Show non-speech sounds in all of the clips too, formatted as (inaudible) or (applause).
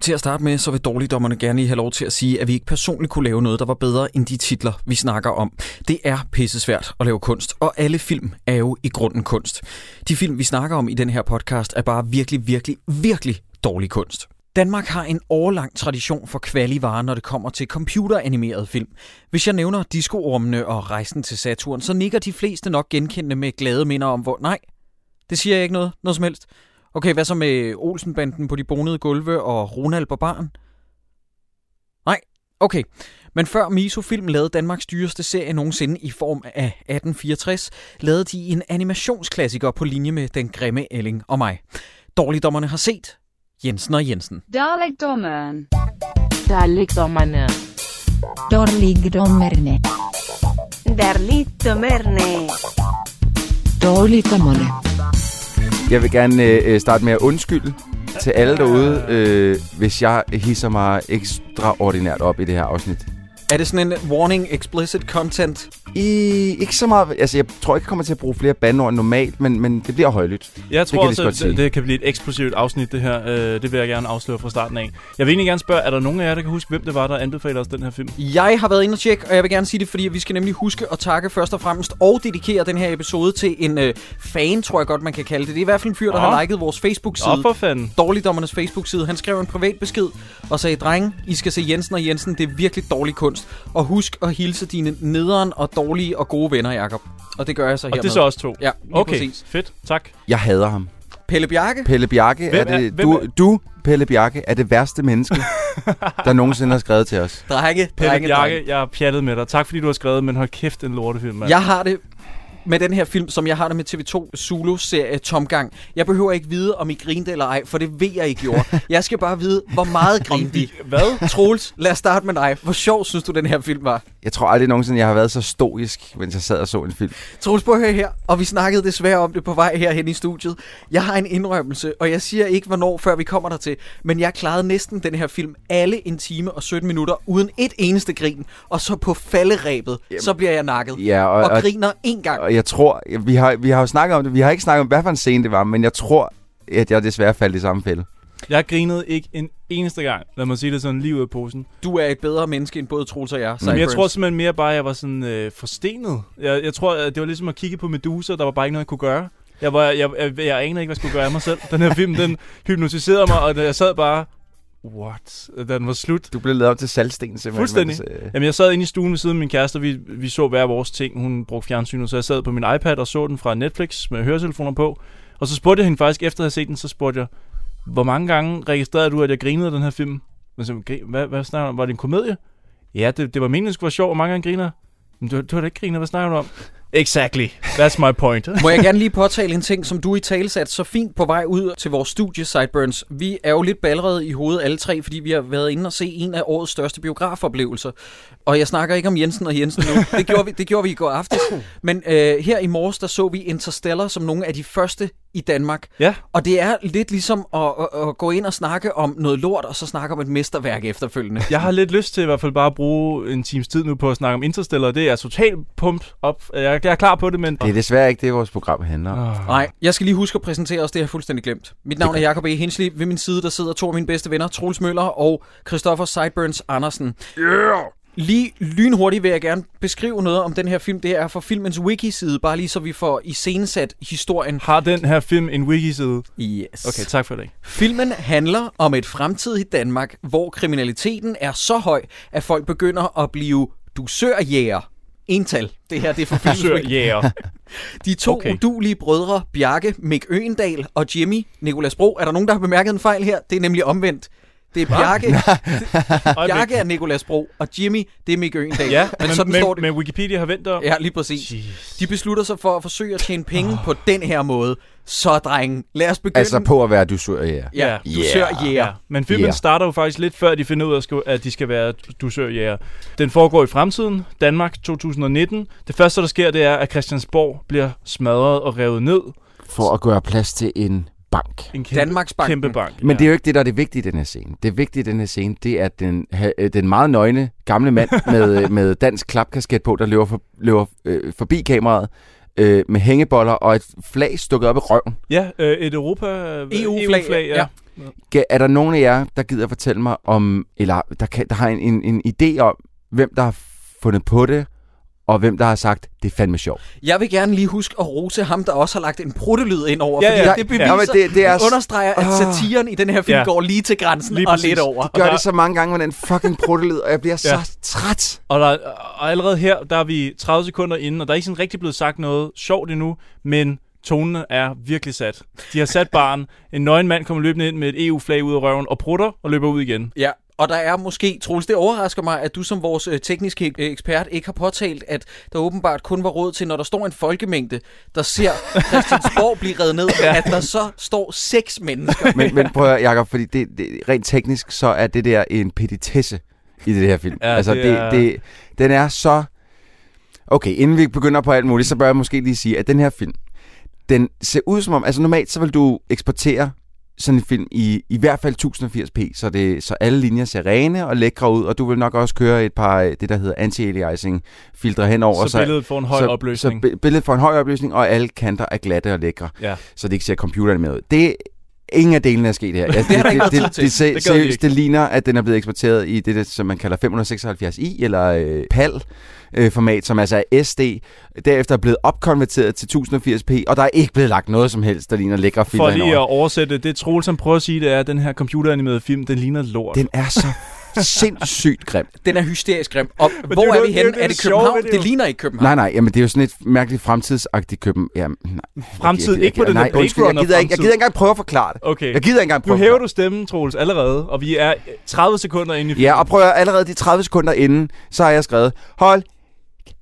Til at starte med, så vil dårligdommerne gerne lige have lov til at sige, at vi ikke personligt kunne lave noget, der var bedre end de titler, vi snakker om. Det er pissesvært at lave kunst, og alle film er jo i grunden kunst. De film, vi snakker om i den her podcast, er bare virkelig, virkelig, virkelig dårlig kunst. Danmark har en årlang tradition for kvalivarer, når det kommer til computeranimerede film. Hvis jeg nævner Diskoormene og Rejsen til Saturn, så nikker de fleste nok genkendende med glade minder om, hvor... Nej, det siger jeg ikke noget, noget som helst. Okay, hvad så med Olsenbanden på de bonede gulve og Ronald Barbaren? Nej, okay. Men før Misofilm lavede Danmarks dyreste serie nogensinde i form af 1864, lavede de en animationsklassiker på linje med Den Grimme Elling og mig. Dårligdommerne har set Jensen og Jensen. Dalekdommeren. Dårligdommerne. Dårligdommerne. Darligdommerne. Dårligdommerne. Jeg vil gerne øh, øh, starte med at undskylde til alle derude, øh, hvis jeg hisser mig ekstraordinært op i det her afsnit. Er det sådan en warning explicit content? I, ikke så meget, altså jeg tror ikke, jeg kommer til at bruge flere bandord end normalt, men, men det bliver højlydt. kan Jeg tror jeg også, lige så at godt det, sige. det kan blive et eksplosivt afsnit, det her. Øh, det vil jeg gerne afsløre fra starten af. Jeg vil egentlig gerne spørge, er der nogen af jer, der kan huske, hvem det var, der anbefalede os den her film? Jeg har været inde og tjekke, og jeg vil gerne sige det, fordi vi skal nemlig huske at takke først og fremmest og dedikere den her episode til en øh, fan, tror jeg godt, man kan kalde det. Det er i hvert fald en fyr, der Nå. har liket vores Nå, Facebook-side. for fanden. Dårligdommernes Facebook-side. Han skrev en privat besked og sagde, drenge, I skal se Jensen og Jensen, det er virkelig dårlig kunst. Og husk at hilse dine nederen og dårlige og gode venner, Jakob. Og det gør jeg så Og hermed. det er så også to. Ja, lige Okay, præcis. fedt. Tak. Jeg hader ham. Pelle Bjarke, Pelle Bjarke, Hvem er det, er- hvem du, er- du, Pelle Bjarke, er det værste (laughs) menneske, der nogensinde har skrevet til os. drenge, Pelle drenge, drenge. Bjarke, jeg har pjattet med dig. Tak fordi du har skrevet, men hold kæft, en lortefilm, mand. Jeg har det med den her film, som jeg har det med TV2 Zulu-serie Tomgang. Jeg behøver ikke vide, om I grinte eller ej, for det ved jeg, I gjorde. Jeg skal bare vide, hvor meget grinte I. Hvad? Troels, lad os starte med dig. Hvor sjov synes du, den her film var? Jeg tror aldrig nogensinde, jeg har været så stoisk, mens jeg sad og så en film. Troels, prøv at høre her, og vi snakkede desværre om det på vej herhen i studiet. Jeg har en indrømmelse, og jeg siger ikke, hvornår, før vi kommer dertil, men jeg klarede næsten den her film alle en time og 17 minutter, uden et eneste grin, og så på falderæbet, så bliver jeg nakket. Ja, og, Og, og, griner en gang. og jeg tror, vi har, vi har jo snakket om det, vi har ikke snakket om, hvad for en scene det var, men jeg tror, at jeg desværre faldt i samme fælde. Jeg grinede ikke en eneste gang. Lad mig sige det sådan lige ud af posen. Du er et bedre menneske end både Troels og jeg. Men jeg Cyburns. tror simpelthen mere bare, at jeg var sådan øh, forstenet. Jeg, jeg tror, at det var ligesom at kigge på Medusa, der var bare ikke noget, jeg kunne gøre. Jeg, var, jeg, jeg, jeg anede ikke, hvad jeg skulle gøre af mig selv. Den her film, den hypnotiserede mig, og jeg sad bare... What? Den var slut. Du blev lavet op til salgsten simpelthen. Fuldstændig. Mens, øh, Jamen, jeg sad inde i stuen ved siden af min kæreste, og vi, vi så hver vores ting. Hun brugte fjernsynet, så jeg sad på min iPad og så den fra Netflix med høretelefoner på. Og så spurgte jeg hende faktisk, efter at have set den, så spurgte jeg, hvor mange gange registrerede du, at jeg grinede af den her film? Men så, "Gri- hvad, hvad snakker du om? Var det en komedie? Ja, det, det var meningen, det skulle være sjov. Hvor mange gange griner jeg? Men du, du har da ikke griner, hvad snakker du om? Exactly. That's my point. Må jeg gerne lige påtale en ting, som du i tale sat så fint på vej ud til vores studie, Sideburns. Vi er jo lidt ballerede i hovedet alle tre, fordi vi har været inde og se en af årets største biografoplevelser. Og jeg snakker ikke om Jensen og Jensen nu. Det gjorde vi, det gjorde vi i går aftes. Men øh, her i morges, der så vi Interstellar som nogle af de første i Danmark. (laughs) ja. Og det er lidt ligesom at, at, at gå ind og snakke om noget lort, og så snakke om et mesterværk efterfølgende. Jeg har lidt lyst til i hvert fald bare at bruge en times tid nu på at snakke om Interstellar. Det er totalt pumped op. Jeg, jeg er klar på det, men... Det er desværre ikke det, vores program handler om. Ah. Nej, jeg skal lige huske at præsentere os, det har jeg fuldstændig glemt. Mit navn er Jakob E. Hensley. Ved min side, der sidder to af mine bedste venner, Troels Møller og Christoffer Sideburns Andersen. Yeah! Lige lynhurtigt vil jeg gerne beskrive noget om den her film. Det er fra filmens wiki-side, bare lige så vi får iscenesat historien. Har den her film en wiki-side? Yes. Okay, tak for det. Filmen handler om et fremtidigt Danmark, hvor kriminaliteten er så høj, at folk begynder at blive dusørjæger. Ental. Det her, det er fra filmens Frisør, wiki. (laughs) yeah. De to okay. Okay. udulige brødre, Bjarke, Mik Øendal og Jimmy, Nikolas Bro. Er der nogen, der har bemærket en fejl her? Det er nemlig omvendt. Det er Bjarke, (laughs) Bjarke er Nikolas Bro, og Jimmy, det er Mik Øendal. Ja, men, men sådan men, står det. men Wikipedia har vendt om. Ja, lige præcis. Jeez. De beslutter sig for at forsøge at tjene penge på den her måde. Så, drengen, lad os begynde. Altså på at være du sur, ja. Ja, Ja. du sør, yeah. Ja, men filmen Ja. yeah. starter jo faktisk lidt før de finder ud af, at sku- at de skal være dusørjæger. Den foregår i fremtiden, Danmark 2019. Det første, der sker, det er, at Christiansborg bliver smadret og revet ned. For at gøre plads til en bank. En kæmpe, Danmarksbanken. kæmpe bank. Men ja. det er jo ikke det, der er det vigtige i den her scene. Det vigtige i den her scene, det er den, ha- øh, den meget nøgne gamle (laughs) mand med, øh, med dansk klapkasket på, der løber, for, løber øh, forbi kameraet øh, med hængeboller og et flag stukket op i røven. Ja, øh, et Europa... EU-flag, E ja. Ga- Er der nogen af jer, der gider fortælle mig om, eller der, kan, der har en, en, en idé om, hvem der har fundet på det, og hvem der har sagt, det er fandme sjovt? Jeg vil gerne lige huske at rose ham, der også har lagt en pruttelyd ind over, Ja, fordi ja. det men beviser, ja, det, det er, s- understreger, at Åh. satiren i den her film Ja. går lige til grænsen Lige og præcis. lidt over. gør der- det så mange gange med den fucking pruttelyd, og jeg bliver Ja. så træt. Og, der, og allerede her, der er vi 30 sekunder inde, og der er ikke sådan rigtig blevet sagt noget sjovt endnu, men tonen er virkelig sat. De har sat barn. En nøgen mand kommer løbende ind med et EU-flag ud af røven og prutter og løber ud igen. Ja, og der er måske, Troels, det overrasker mig, at du som vores øh, tekniske øh, ekspert ikke har påtalt, at der åbenbart kun var råd til, når der står en folkemængde, der ser (laughs) Christiansborg blive reddet ned, ja. at der så står seks mennesker. Men, men prøv at høre, Jacob, fordi det, det, rent teknisk, så er det der en petitesse i det her film. Ja, altså, det det, er- det, den er så... Okay, inden vi begynder på alt muligt, så bør jeg måske lige sige, at den her film, den ser ud som om... Altså normalt, så vil du eksportere sådan en film i i hvert fald 1080p, så, det, så alle linjer ser rene og lækre ud, og du vil nok også køre et par, øh, det der hedder anti-aliasing, filtre henover, Så, billedet får en høj opløsning. så bi- billedet får en høj opløsning, og alle kanter er glatte og lækre, Ja. så det ikke ser computeren med ud. Det ingen af delene er sket (laughs) her. Altså, Det har der ikke været det, tid det, til. det, se- Det gad de seriøst, ikke. det ligner, at den er blevet eksporteret i det, der, som man kalder 576i, eller øh, PAL-format, som altså er SD. Derefter er blevet opkonverteret til 1080p, og der er ikke blevet lagt noget som helst, der ligner lækre For filmer lige henover. at oversætte det, Troels han prøver at sige, det er, at den her computeranimerede film, den ligner lort. Den er så sindssygt (laughs) grim. Den er hysterisk grim. Og er hvor jo er det- vi det er jo henne? det, Er der det er sjovt ved København? det Det jo. ligner ikke København. Nej, nej, jamen det er jo sådan et mærkeligt fremtidsagtigt Køben... Jamen, nej, Fremtid, jeg gider ikke på den nej, der undskyld, jeg Blade gider, ikke, jeg Runner-fremtid. gider ikke engang prøve at forklare det. Okay. Jeg gider ikke engang prøve Nu at hæver forklare du stemmen, Troels, allerede, og vi er øh, 30 sekunder inde i filmen. Ja, og prøv at høre, allerede de 30 sekunder inden, så har jeg skrevet, hold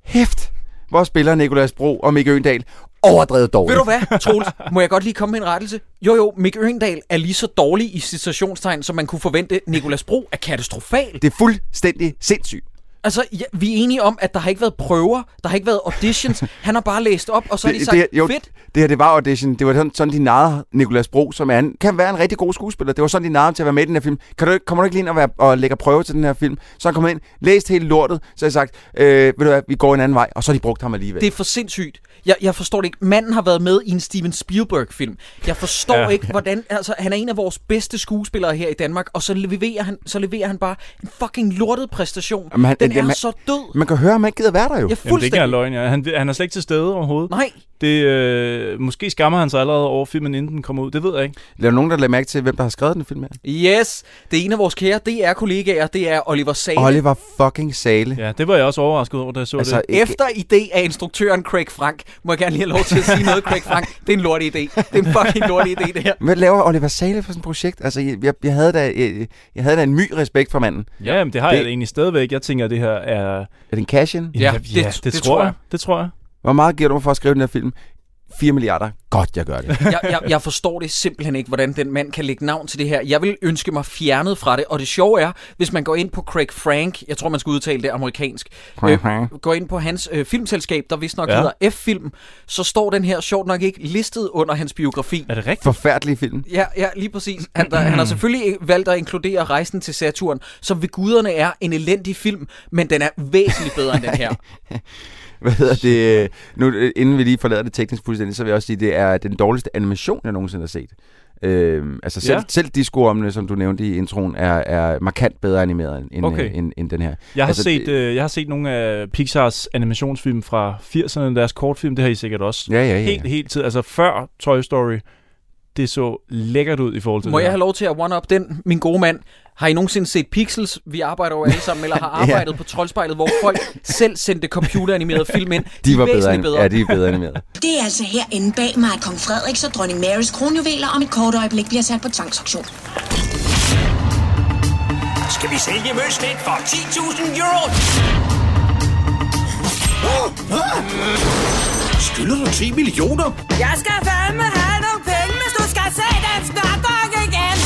hæft, hvor spiller Nikolas Bro og Mikke Øndal overdrevet dårligt. Ved du hvad, Troels? Må jeg godt lige komme med en rettelse? Jo, jo, Mick Øgendal er lige så dårlig i citationstegn, som man kunne forvente. Nikolas Bro er katastrofal. Det er fuldstændig sindssygt. Altså, ja, vi er enige om, at der har ikke været prøver, der har ikke været auditions. Han har bare læst op, og så har de Det- sagt, det, jo, fedt, det her, det var audition. Det var sådan, sådan de narrede Nikolas Bro, som er en, kan være en rigtig god skuespiller. Det var sådan, de narrede ham til at være med i den her film. Kan du, ikke- kommer du ikke lige ind og, være, og lægge prøve til den her film? Så han kom ind, læst hele lortet, så har jeg sagt, øh, ved du hvad, vi går en anden vej, og så har de brugt ham alligevel. det er for sindssygt. Jeg, jeg forstår det ikke. Manden har været med i en Steven Spielberg-film. Jeg forstår Ja, ja, ikke, hvordan... Altså, han er en af vores bedste skuespillere her i Danmark, og så leverer han, så leverer han bare en fucking lortet præstation. Jamen, han- den er jamen, så død. Man kan høre, at man ikke gider være der jo. Jeg er Jamen, det er ikke engang fuldstændig... løgn, ja. han, han er slet ikke til stede overhovedet. Nej, Det, øh, måske skammer han sig allerede over filmen, inden den kommer ud. Det ved jeg ikke. Er der nogen, der lader mærke til, hvem der har skrevet den film her? yes. Det er en af vores kære DR-kollegaer, det er Oliver Sale. Oliver fucking Sale. Ja, det var jeg også overrasket over, da jeg så Altså, det. Efter idé af instruktøren Craig Frank, må jeg gerne lige have lov til at sige noget, Craig Frank. Det er en lortig idé. Det er en fucking lortig idé, det her. Hvad laver Oliver Sale for sådan et projekt? Altså, jeg, jeg, jeg, havde, da, jeg, jeg havde da en my respekt for manden. Ja, jamen, det har Det- det... jeg da egentlig stadigvæk. Jeg tænker, at det her er... Er det en cash -in? Ja, det, det- ja, det, det tror tror jeg. jeg. Det tror jeg. Hvor meget giver du mig for at skrive den her film? 4 milliarder. Godt, jeg gør det. Jeg, jeg, jeg forstår det simpelthen ikke, hvordan den mand kan lægge navn til det her. Jeg vil ønske mig fjernet fra det. Og det sjove er, hvis man går ind på Craig Frank, jeg tror, man skal udtale det amerikansk, øh, går ind på hans øh, filmselskab, der vist nok Ja. ja. hedder F-film, så står den her sjovt nok ikke listet under hans biografi. Er det rigtigt? Forfærdelig film. Ja, ja, lige præcis. Han, der, han har selvfølgelig valgt at inkludere Rejsen til Saturn, som ved guderne er en elendig film, men den er væsentligt bedre end den her. Hvad hedder det? øh, Nu, øh, inden vi lige forlader det teknisk fuldstændig, så vil jeg også sige, at det er den dårligste animation, jeg nogensinde har set. Øhm, altså selv, Ja. ja. selv discoormene, som du nævnte i introen, er, er markant bedre animeret end, Okay. okay. end, end den her. Jeg har, altså, altså, set, det- øh, jeg har set nogle af Pixars animationsfilm fra 80'erne, deres kortfilm, det har I sikkert også. Ja, ja, ja. Helt, helt tid. Altså før Toy Story, det så lækkert ud i forhold til Må det jeg her. have lov til at one-up den, min gode mand? Har I nogensinde set Pixels? Vi arbejder jo alle sammen, eller har (laughs) arbejdet ja. på Troldspejlet, hvor folk selv sendte computeranimerede film ind. De var bedre, væsentligt bedre. Ja, de er bedre animeret. Det er altså herinde bag mig, at kong Frederiks og dronning Marys kronjuveler om et kort øjeblik bliver sat på tvangsauktion. Skal vi sælge Møslet for 10.000 euro? Skylder du 10 millioner? Jeg skal fandme have nogle penge, hvis du skal se den snarbakke igen.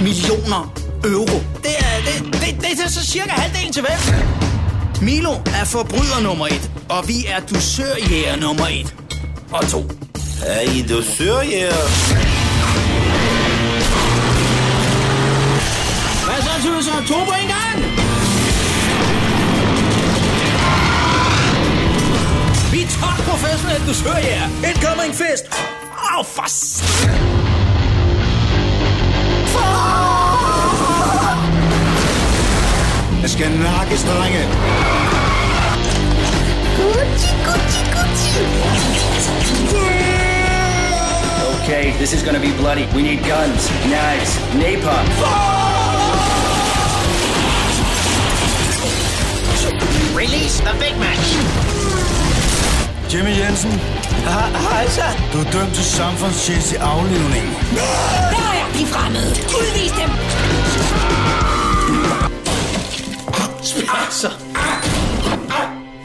20 millioner euro. Det er, det, det, det er så cirka halvdelen til hvem? Milo er forbryder nummer et, og vi er dusørjæger nummer et. Og to. Er I dusørjæger? Hvad så, tøser? To på en gang! Vi er top professionelle dusørjæger. Incoming fest! Åh, oh, for s- skal nakkes, drenge. Okay, this is gonna be bloody. We need guns, knives, napalm. Release the big man. Jimmy Jensen. Hej så. Du er dømt til samfundstjeneste i aflivning. Der er de fremmede. Udvis dem.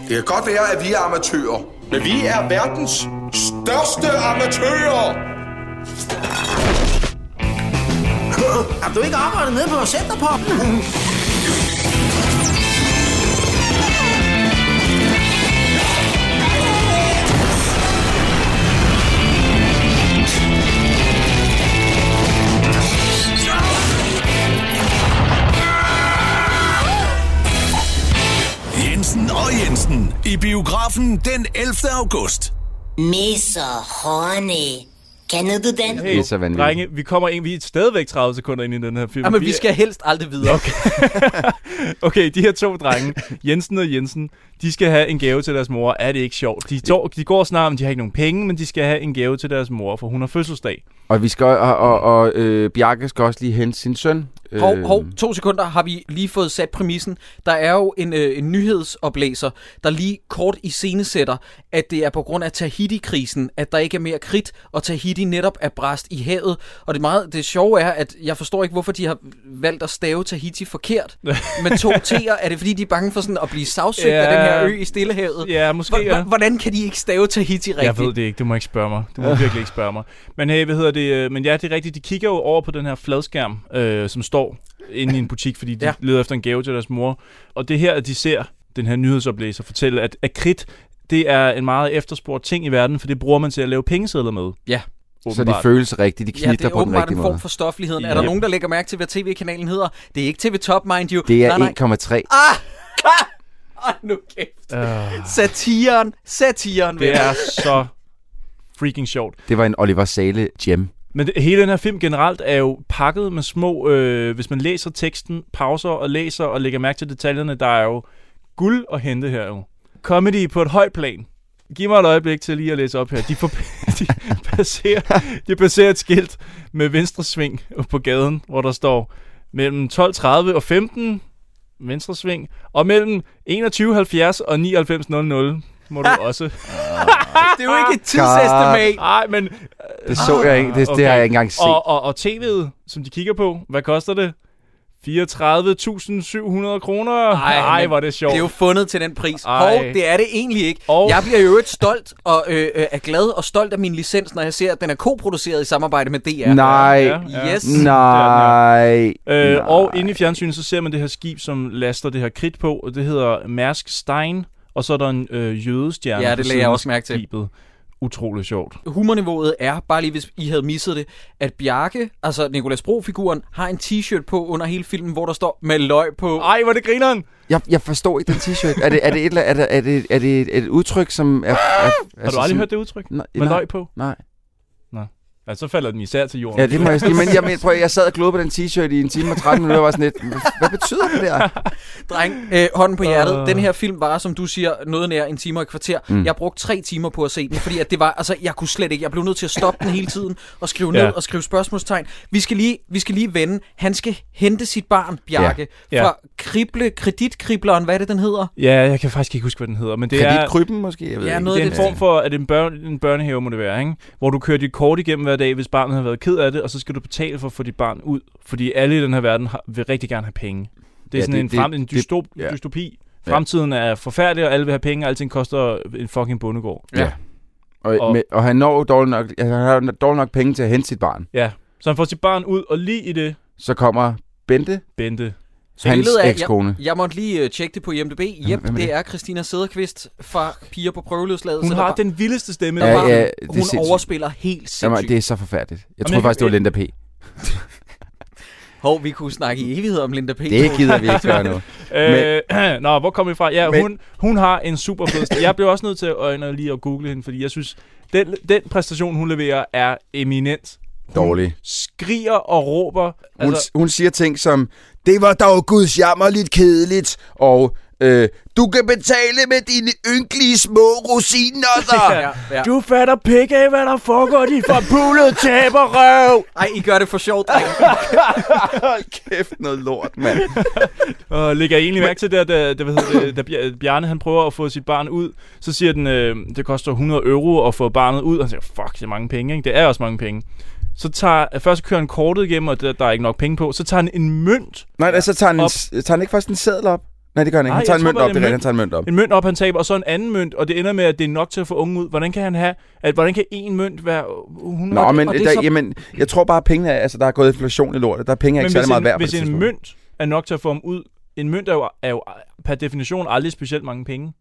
Det kan godt være, at vi er amatører, men vi er verdens største amatører. Har Øh, du ikke arbejdet nede på Centerpoppen? Jensen og Jensen. I biografen den 11. august. Misser Horny. Kender du den? Det er så vanvittigt. Drenge, vi kommer ind, vi er stadigvæk 30 sekunder ind i den her film. Ja, men vi er- skal helst aldrig videre. Okay. Okay, de her (laughs) to drenge, Jensen og Jensen, de skal have en gave til deres mor. Er det ikke sjovt? De, tår, de går snart, men de har ikke nogen penge, men de skal have en gave til deres mor, for hun har fødselsdag. Og, vi skal, og, og, og øh, Bjarke skal også lige hente sin søn. Øhm, Øh. Hov, hov, to sekunder har vi lige fået sat præmissen. Der er jo en, øh, en nyhedsoplæser, der lige kort i scenesætter, at det er på grund af Tahiti-krisen, at der ikke er mere kridt, og Tahiti netop er bræst i havet. Og det, meget, det sjove er, at jeg forstår ikke, hvorfor de har valgt at stave Tahiti (laughs) forkert med to T'er. Er det fordi, de er bange for sådan at blive sagsøgt ja. af den her Ja. ø i Stillehavet? Ja, måske, Hvor- ja. hvor- Hvordan kan de ikke stave Tahiti rigtigt? Jeg ved det ikke, du må ikke spørge mig. Du må virkelig ikke spørge mig. Men hey, hvad hedder det? øh, Men ja, det er rigtigt. De kigger jo over på den her fladskærm, øh, som står inde i en butik, fordi de Ja. ja. leder efter en gave til deres mor. Og det er her, at de ser den her nyhedsoplæser fortælle, at, at kridt, det er en meget efterspurgt ting i verden, for det bruger man til at lave pengesedler med. Ja. så de åbenbart. føles rigtigt. De Ja, det knitter er på den åbenbart rigtige en måde. form for stofligheden. Er der Ja. nogen, der lægger mærke til, hvad tv-kanalen hedder? Det er ikke TV Top, mind you. Det er Nej, nej. 1,3. Ej, Ah, nu kæft. Satiren, satiren. Ah. Det venner. er så freaking sjovt. Det var en Oliver Sale gem. Men det, hele den her film generelt er jo pakket med små, øh, hvis man læser teksten, pauser og læser og lægger mærke til detaljerne, der er jo guld at hente her jo. Comedy på et højt plan. Giv mig et øjeblik til lige at læse op her. De, for, (laughs) de, placerer, de placerer et skilt med venstre sving på gaden, hvor der står mellem 12.30 og 15 venstre sving, og mellem 21.70 og 99.00 må du også. Det er jo ikke et tidsestimat. Nej, men Det så jeg ikke. Det, okay. det har jeg ikke engang set. Og, og, og tv'et, som de kigger på, hvad koster det? 34.700 kroner. Ej, men hvor er det sjovt. Det er jo fundet til den pris. Ej. Hov, det er det egentlig ikke. Og- Jeg bliver jo et stolt og øh, øh, er glad og stolt af min licens, når jeg ser, at den er koproduceret i samarbejde med DR. Nej. Ja, ja. Yes. Nej. Øh, Nej. og inde i fjernsynet, så ser man det her skib, som laster det her kridt på, og det hedder Mærsk Stein, og så er der en øh, jødestjerne. Ja, det ved lagde siden jeg af også mærke til. Skibet. Utrolig sjovt. Humorniveauet er, bare lige hvis I havde misset det, at Bjarke, altså Nicolas Bro-figuren, har en t-shirt på under hele filmen, hvor der står med løg på. Ej, hvor er det grineren! Jeg, jeg forstår ikke den t-shirt. er, det, er, det et, eller- er, det, er, det, er det et, et udtryk, som er... er Har du aldrig hørt det udtryk? Nej, Med nej. løg på? Nej. Ja, så falder den især til jorden. Ja, det må jeg sige. Men jeg, men, prøv, at- jeg sad og glodede på den t-shirt i en time og 13 minutter, og var sådan lidt, "Hva- hvad betyder det der? Dreng, øh, hånden på hjertet. Øh. Den her film var, som du siger, noget nær en time og et kvarter. Mm. Jeg brugte tre timer på at se den, fordi at det var, altså, jeg kunne slet ikke. Jeg blev nødt til at stoppe den hele tiden og skrive ned Ja. og skrive spørgsmålstegn. Vi skal lige, vi skal lige vende. Han skal hente sit barn, Bjarke, Ja. fra krible, kreditkribleren, hvad er det, den hedder? ja, jeg kan faktisk ikke huske, hvad den hedder, men (laughs) det er... Kreditkryben måske? Jeg ved Ja, ikke. noget af det er en den form for, at en, børn, en børnehave må det være, ikke? hvor du kører dit kort igennem hver dag, hvis barnet har været ked af det, og så skal du betale for at få dit barn ud, fordi alle i den her verden har, vil rigtig gerne have penge. Det er Ja, ja, sådan det- det, en, det- frem, en det- dystop, ja. ja. dystopi. Fremtiden er forfærdelig, og alle vil have penge, og alting koster en fucking bondegård. Ja. Og, og, og- med, og han når jo dårligt nok, han har jo dårligt nok penge til at hente sit barn. Ja. Så han får sit barn ud, og lige i det, Så kommer Bente, Bente. Så hans billedet er- ekskone. Jeg, jeg måtte lige øh, tjekke det på IMDb. Jep, hvem er det det? er Christina Sederqvist fra Piger på prøveløsladelse. Hun der har bare- den vildeste stemme. der Ja, der bare- ja, det er hun sindssygt. overspiller helt Jamen, sindssygt. det er så forfærdeligt. Jeg Jamen, troede jeg- faktisk, det var Linda P. Hov, vi kunne snakke i evighed om Linda P. Det gider vi ikke gøre nu. Øh, (clears throat) nå, hvor kom vi fra? Ja, Men- hun, hun har en super fed stemme. Jeg blev også nødt til at øjne lige at google hende, fordi jeg synes, den, den præstation, hun leverer, er eminent. Dårlig. skriger og råber. Hun, altså... hun siger ting som, det var dog guds jammerligt kedeligt, og øh, du kan betale med dine ynkelige små rosiner, der. Ja, ja. Du fatter pik af, hvad der foregår, din forpulede taberøv! Ej, I gør det for sjovt, drenge. (laughs) Hold kæft, noget lort, mand. Og lægger egentlig mærke til, der, da, da, hvad hedder det, da Bjer- Bjarne han prøver at få sit barn ud, så siger den, øh, det koster 100 euro at få barnet ud. Og han siger, fuck, det er mange penge, ikke? Det er også mange penge. Så tager, øh, først kører han kortet igennem, og der, der er ikke nok penge på. Så tager han en mønt, Nej, ja. så tager han, en, Op. s- tager han ikke først en sædel op? Nej, det gør han ikke. Nej, Han tager jeg en tror mønt bare, op, det det er er en rigtigt. Han tager en mønt op. en mønt op, han taber, og så en anden mønt, og det ender med, at det er nok til at få unge ud. Hvordan kan han have, at hvordan kan en mønt være 100 Nå, men, og det er der, så- så... jamen, jeg tror bare, at pengene er, altså, der er gået inflation i lortet. Der er penge er ikke Men særlig hvis, meget en, værd på hvis det en tidspunkt. mønt er nok til at få ham ud, en mønt er jo, er jo per definition aldrig specielt mange penge.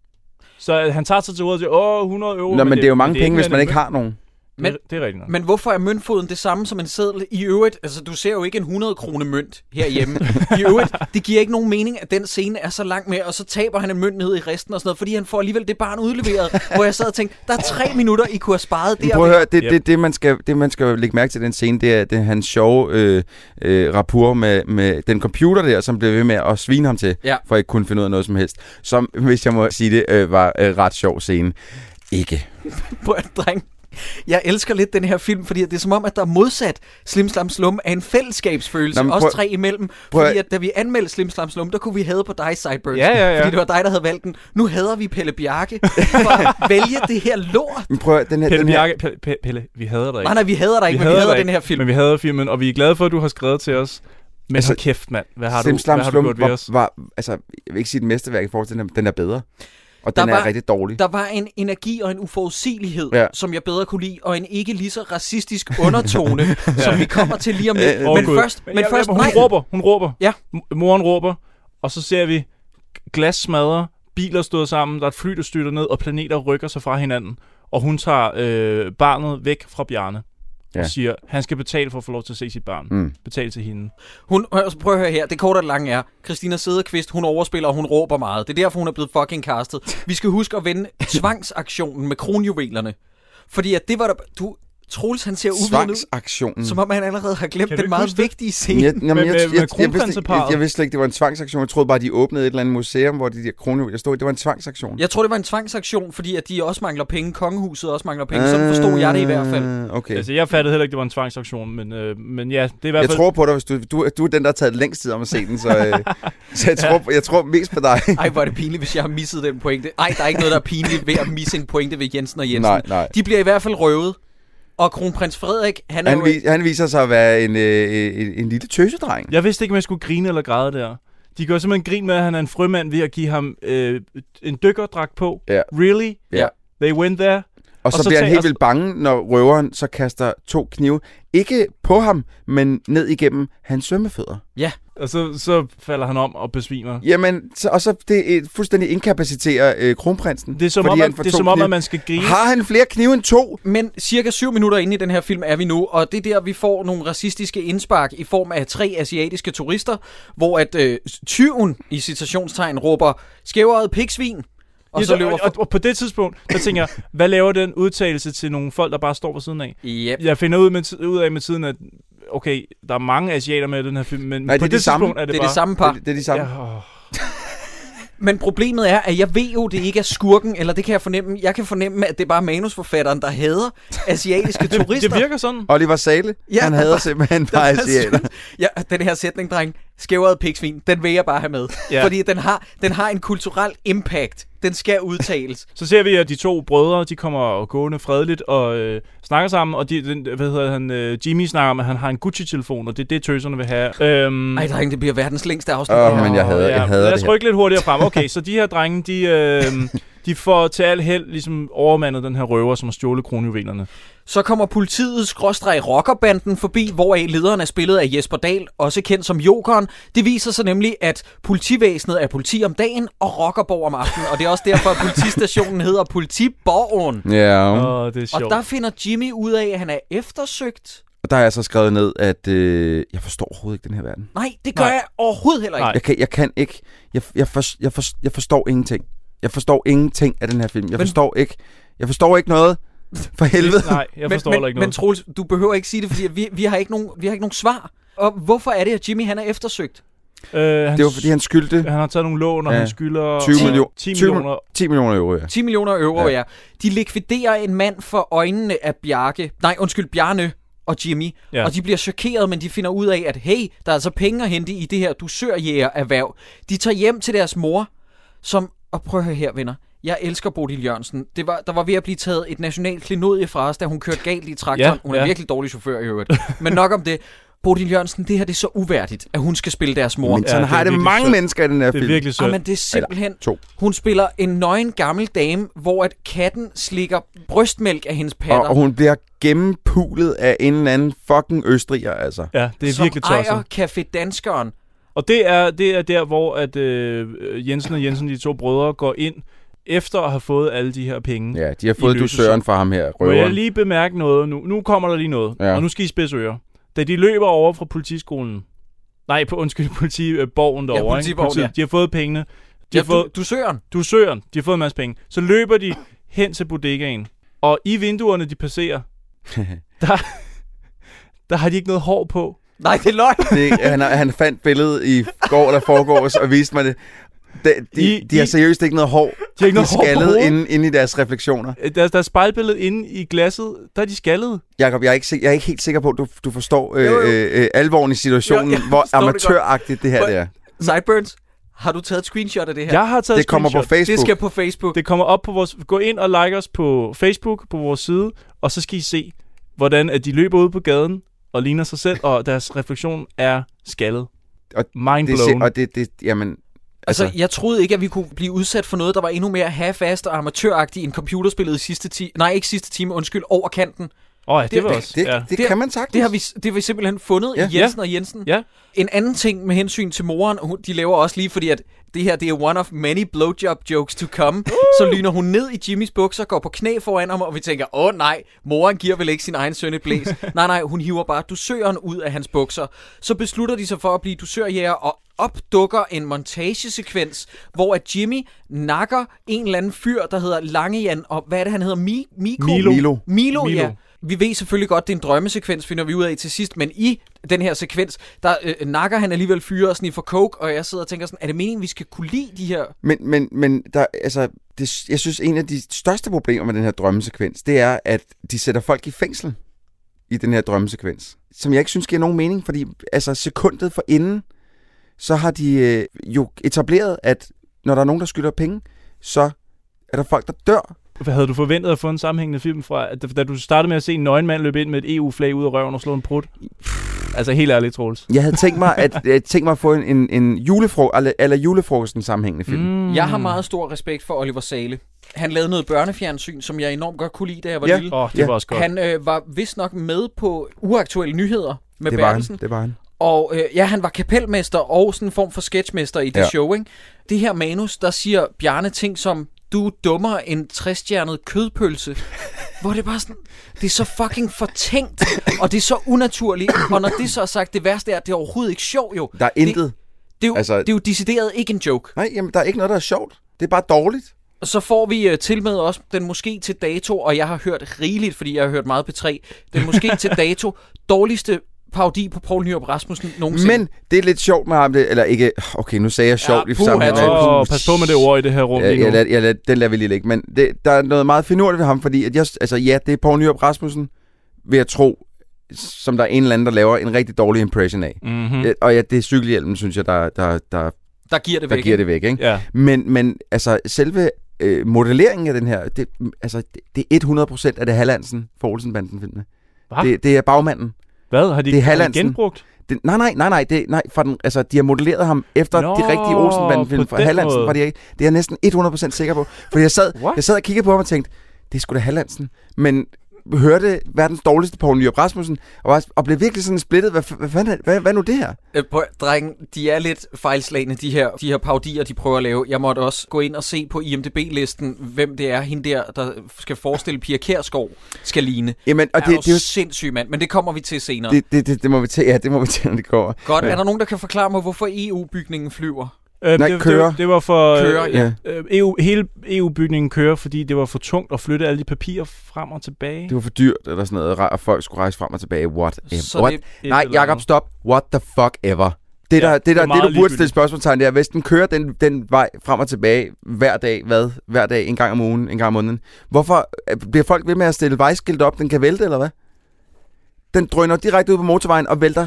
Så øh, han tager sig til ordet til, åh, 100 euro. Nå, men det er jo mange penge, hvis mere man end ikke en har nogen. mønt. Det, er- det er rigtigt nok. Men hvorfor er møntfoden det samme som en seddel? I øvrigt, altså du ser jo ikke en 100 kroner mønt herhjemme. I øvrigt, det giver ikke nogen mening, at den scene er så langt med, og så taber han en mønt ned i resten og sådan noget, fordi han får alligevel det barn udleveret, hvor jeg sad og tænkte, der er tre minutter, I kunne have sparet Men der. prøv (laughs) at høre, det, Yep. det, det, man skal, det man skal lægge mærke til i den scene, det er, det er hans sjove øh, øh, rapport med, med den computer der, som blev ved med at svine ham til, Ja. for at ikke kunne finde ud af noget som helst. Som, hvis jeg må sige det, øh, var øh, ret sjov scene. Ikke. på en dreng. Jeg elsker lidt den her film, fordi det er som om, at der er modsat Slim Slam Slum af en fællesskabsfølelse, Nå, men Nå, prøv- også tre imellem. prøv- Fordi at da vi anmeldte Slim Slam Slum, der kunne vi have på dig, Sideburns. Ja, ja, ja. Fordi det var dig, der havde valgt den. Nu hader vi Pelle Bjarke for at vælge det her lort. Men prøv at høre, den her... Pelle, den her, Bjarke, Pelle, Pelle, Pelle, vi hader dig ikke. Nej, nej, vi hader dig ikke, vi men vi hader dig den her ikke, film. Men vi hader filmen, og vi er glade for, at du har skrevet til os. Men Altså, altså, kæft, mand. Hvad har, Slim du, Slam hvad har du Slum gjort ved os? var, var, altså, jeg vil ikke sige et mesterværk i forhold til den her, den er bedre. Og Der den er var- rigtig dårlig. Der var en energi og en uforudsigelighed, ja. Ja. som jeg bedre kunne lide, og en ikke lige så racistisk undertone, som vi kommer til lige om lidt. Åh, Øh, men Gud. først, men jeg- først, jeg- hun nej, råber, hun råber. Ja. M- Moren råber, og så ser vi glas smadre, biler stået sammen, der er et fly, der styrter ned, og planeter rykker sig fra hinanden. Og hun tager øh, barnet væk fra Bjarne ja. Ja. og siger, han skal betale for at få lov til at se sit barn. Mm. Betale til hende. Hun, hør, prøv at høre her, det korte og det lange er, Christina Sederqvist, hun overspiller, og hun råber meget. Det er derfor, hun er blevet fucking castet. Vi skal huske at vende tvangsaktionen med kronjuvelerne. Fordi at det var der... Du, Troels, han ser uvidende ud, Svangsaktionen. som om han allerede har glemt Kan du den ikke meget huske det? vigtige scene. Jeg, jamen, jeg, Med- med- jeg, med jeg, jeg, vidste ikke, jeg, kronprinseparret. jeg vidste slet ikke, det var en tvangsaktion. Jeg troede bare, de åbnede et eller andet museum, hvor de der kronjuveler der stod. Det var en tvangsaktion. Jeg tror, det var en tvangsaktion, fordi at de også mangler penge. Kongehuset også mangler penge. Sådan forstod jeg det i hvert fald. Ah, Okay. Altså, jeg fattede heller ikke, det var en tvangsaktion, men, øh, men ja, det er i hvert Jeg fald... tror på dig, hvis du, du, du er den, der har taget længst tid om at se den, så, øh, så (laughs) jeg, tror, jeg tror mest på dig. Ej, hvor er det pinligt, hvis jeg har misset den pointe. Ej, der er ikke noget, der er pinligt ved at misse en pointe ved Jensen og Jensen. Nej, nej. De bliver i hvert fald røvet. Og kronprins Frederik, han er Han, jo... vi, han viser sig at være en, øh, en, en lille tøsedreng. Jeg vidste ikke, om jeg skulle grine eller græde der. De gør simpelthen grin med, at han er en frømand ved at give ham øh, en dykkerdragt på. Ja. Really? Ja. They went there? Og så, Og så bliver han tager- helt vildt bange, når røveren så kaster to knive. Ikke på ham, men ned igennem hans svømmefødder. Og så, så falder han om og besvimer. Jamen, så, og så det er fuldstændig inkapaciterer øh, kronprinsen. Det er som, fordi om, han at, får det er, to som om, knive. at man skal grine. Har han flere knive end to? Men cirka 7 minutter inde i den her film er vi nu, og det er der, vi får nogle racistiske indspark i form af tre asiatiske turister, hvor at øh, tyven i citationstegn råber, skæveret piksvin, og Ja, så løber... og, og på det tidspunkt, der tænker jeg, hvad laver den udtalelse til nogle folk, der bare står på siden af? Yep. Jeg finder ud, med, ti- ud af med tiden, at okay, der er mange asiater med i den her film, men Nej, det på er det, de samme. tidspunkt er det, Det er bare... det samme par. Det, det er de samme. Ja. Ja, åh. Men problemet er, at jeg ved jo, det ikke er skurken, eller det kan jeg fornemme. Jeg kan fornemme, at det er bare manusforfatteren, der hader asiatiske turister. (laughs) det virker sådan. Oliver Sale, Ja, ja, han der hader var- (laughs) simpelthen bare asiater. Ja, den her sætning, dreng, skævret piksvin, den vil jeg bare have med. Ja. Fordi den har, den har en kulturel impact. Den skal udtales. Så ser vi, at de to brødre, de kommer gående fredeligt og øh, snakker sammen, og de, den, hvad hedder han, øh, Jimmy snakker om, at han har en Gucci-telefon, og det er det, tøserne vil have. Øhm, Ej, dreng, det bliver verdens længste afsnit. Åh, det her. men jeg hader, jeg hader Lad det os her. rykke lidt hurtigere frem. (laughs) Okay, så de her drenge, de, øh, de får til al held ligesom overmandet den her røver, som har stjålet kronjuvelerne. Mm. Så kommer politiet skråstreg rockerbanden forbi, hvoraf lederen er spillet af Jesper Dahl, også kendt som Jokeren. Det viser sig nemlig, at politivæsenet er politi om dagen og rockerborg om aftenen. Og det er også derfor, at politistationen hedder Politiborgen. Ja. Åh, oh, det er Og sjovt. der finder Jimmy ud af, at han er eftersøgt. Og der har jeg så skrevet ned, at øh, jeg forstår overhovedet ikke den her verden. Nej, det gør Nej. Nej. jeg overhovedet heller ikke. Nej. Jeg kan, jeg kan ikke. Jeg, jeg, for, jeg, for, jeg forstår ingenting. Jeg forstår ingenting af den her film. Jeg Men- forstår ikke. Jeg forstår ikke noget. (laughs) For helvede. Nej, jeg forstår men, heller ikke Men noget. Troels, du behøver ikke sige det, fordi at vi, vi, har ikke nogen, vi har ikke nogen svar. Og hvorfor er det, at Jimmy han er eftersøgt? Øh, han, Det var, fordi han skyldte... han har taget nogle lån, og Ja. han skylder 20 millioner. 10 millioner. 10 millioner euro, ja. 10 millioner euro, ja. Ja. ja. De likviderer en mand for øjnene af Bjarke. Nej, undskyld, Bjarne og Jimmy. Ja. Ja. Og de bliver chokeret, men de finder ud af, at hey, der er altså penge at hente i det her dusørjæger-erhverv. De tager hjem til deres mor, som... Og prøv at høre her, venner. Jeg elsker Bodil Jørgensen. Det var, der var ved at blive taget et nationalt klenodie fra os, da hun kørte galt i traktoren. Ja, Ja, hun er ja. ja. virkelig dårlig chauffør i øvrigt. Men nok om det. Bodil Jørgensen, det her det er så uværdigt, at hun skal spille deres mor. Men Ja, sådan det har er det med virkelig mange synd. mennesker i den her Det er film. virkelig sødt. Jamen, det er simpelthen... Eller to. Hun spiller en nøgen gammel dame, hvor at katten slikker brystmælk af hendes patter. Og, og hun bliver gennempulet af en eller anden fucking østriger, altså. Ja, det er som virkelig ejer tosset. Café Danskeren. Og det er, det er der, hvor at, øh, Jensen og Jensen, de to brødre, går ind efter at have fået alle de her penge. Ja, de har I fået du løsesum. søren fra ham her, Må jeg røveren. lige bemærke noget nu? Nu kommer der lige noget, ja. Ja. og nu skal I spidse ører. Da de løber over fra politiskolen, nej, på, undskyld, (laughs) politiborgen derovre, politiborgen, Politiet. ja. de har fået pengene, de Ja, har fået, du, du søren. du søger, de har fået en masse penge, så løber de hen til bodegaen, og i vinduerne, de (laughs) passerer, der, der har de ikke noget hår på. Nej, det er løgn. Det, han, har- han fandt billedet i går, der foregår, og viste mig det. De, de, I- de har I- seriøst ikke noget hår. De har ikke noget hår på skaldet hovedet. inde, inde i deres refleksioner. Øh, Deres, deres spejlbillede inde i glasset, der er de skaldede. Jakob, jeg er ikke, sik- jeg er ikke helt sikker på, at du, du forstår øh, Jo, jo. øh, øh, alvoren i situationen, Jo, jo, jeg hvor forstår det godt. amatøragtigt det her Hvor- det er. Sideburns, har du taget et screenshot af det her? Jeg har taget Det kommer på screenshot. Facebook. Det skal på Facebook. Det. Det kommer op på vores... Gå ind og like os på Facebook, på vores side, og så skal I se, hvordan at de løber ud på gaden og ligner sig selv, og deres refleksion er skaldet. Og Mind det, ser- blown. og det, det, jamen, Altså, altså, jeg troede ikke, at vi kunne blive udsat for noget, der var endnu mere half-assed og amatøragtigt end computerspillet i sidste time. Nej, ikke sidste time, undskyld, over kanten. Åh, ja, det det- var det- også... det, ja. det, Det- kan man sagtens. Det har vi, det har vi simpelthen fundet ja. Ja. i Jensen ja. og Jensen. Ja. En anden ting med hensyn til moren, hun, de laver også lige, fordi at det her det er one of many blowjob jokes to come. Uh! Så lyner hun ned i Jimmys bukser, går på knæ foran ham, og vi tænker, åh nej, moren giver vel ikke sin egen søn et blæs. nej, nej, hun hiver bare dusøren ud af hans bukser. Så beslutter de sig for at blive dusørjæger, og opdukker en montagesekvens, hvor at Jimmy nakker en eller anden fyr, der hedder Langejan, og hvad er det, han hedder? Mi- Miko? Milo. Milo. Milo, Milo. Milo, ja. Vi ved selvfølgelig godt, det er en drømmesekvens, finder vi ud af til sidst, men i den her sekvens, der øh, nakker han alligevel fyre og sniffer coke, og jeg sidder og tænker sådan, er det meningen, vi skal kunne lide de her... Men, men, men der, altså, det, jeg synes, en af de største problemer med den her drømmesekvens, det er, at de sætter folk i fængsel i den her drømmesekvens, som jeg ikke synes giver nogen mening, fordi altså, sekundet for inden, så har de øh, jo etableret, at når der er nogen, der skylder penge, så er der folk, der dør. Hvad havde du forventet at få en sammenhængende film fra, at, da du startede med at se en nøgen mand løbe ind med et EU-flag ud af røven og slå en prut? Altså helt ærligt, Troels. Jeg havde tænkt mig at, jeg tænkt mig at få en, en, en julefro, eller, eller julefrokosten sammenhængende film. Mm. Mm. Jeg har meget stor respekt for Oliver Sale. Han lavede noget børnefjernsyn, som jeg enormt godt kunne lide, da jeg var Ja. lille. Åh, oh, det Ja. var også godt. Han øh, var vist nok med på uaktuelle nyheder med Det var han. Bertelsen. Det var han. Og øh, ja, han var kapelmester og sådan en form for sketchmester i det ja. Ja. show, ikke? Det her manus, der siger Bjarne ting som, du er dummere end træstjernet kødpølse. (laughs) Hvor det er bare sådan, det er så fucking fortænkt, og det er så unaturligt. Og når det så er sagt, det værste er, at det er overhovedet ikke sjov jo. Der er intet. Det, det, er, jo, altså... altså- det er jo decideret ikke en joke. Nej, jamen, der er ikke noget, der er sjovt. Det er bare dårligt. Og så får vi øh, til med også den måske til dato, og jeg har hørt rigeligt, fordi jeg har hørt meget på 3 den måske til dato dårligste parodi på Poul Nyrup Rasmussen nogensinde. Men det er lidt sjovt med ham, det, eller ikke, okay, nu sagde jeg sjovt ja, i puha, det sammen var- Åh, oh, pas på med det ord i det her rum Jeg, lige jeg, nu. lad, jeg lad, den lader vi lige ligge, men det, der er noget meget finurligt ved ham, fordi at jeg, altså, ja, det er Poul Nyrup Rasmussen, ved at tro, som der er en eller anden, der laver en rigtig dårlig impression af. Mhm. Mm. Og ja, det er cykelhjelmen, synes jeg, der, der, der, der giver det der væk. giver det væk. Ikke? Ja. Men, men altså, selve øh, modelleringen af den her, det, altså, det, det er 100% af det Hallandsen for Olsenbanden-filmene. Hva? Det, det er bagmanden. Hvad? Har de, Det er har de Hallandsen. genbrugt? Det, nej, nej, nej, nej, det, nej fra den, altså, de har modelleret ham efter Nå, Nå, de rigtige Olsenbanden-film på fra den Hallandsen. måde. Fra de, det er jeg næsten 100% sikker på. Fordi jeg sad, What? jeg sad og kiggede på ham og tænkte, det er sgu da Hallandsen. Men hørte verdens dårligste Poul Nyrup Rasmussen, og, var, og blev virkelig sådan splittet. Hvad, f- hvad, fanden er- hvad, hvad nu det her? Øh, prøv, drengen, de er lidt fejlslagende, de her, de her paudier, de prøver at lave. Jeg måtte også gå ind og se på IMDB-listen, hvem det er, hende der, der skal forestille Pia Kærsgaard, skal ligne. Jamen, Og og det, det, det, det, er jo- sindssygt, mand, men det kommer vi til senere. Det, det, det, det, det, må vi tage, ja, det må vi tage, når det kommer. Godt, er der nogen, der kan forklare mig, hvorfor EU-bygningen E flyver? Øh, Nej, det, kører. Det, det var for... Kører, øh, ja. øh, EU, hele EU-bygningen kører, fordi det var for tungt at flytte alle de papirer frem og tilbage. Det var for dyrt, eller sådan noget, og folk skulle rejse frem og tilbage. What Så ever. What? det- et Nej, eller Jakob, andet. stop. What the fuck ever. Det, Ja, der, det det, er der, det, meget du burde stille ligegyldigt. spørgsmålstegn, det er, hvis den kører den, den vej frem og tilbage hver dag, hvad? Hver dag, en gang om ugen, en gang om måneden. Hvorfor øh, bliver folk ved med at stille vejskilt op? Den kan vælte, eller hvad? Den drøner direkte ud på motorvejen og vælter,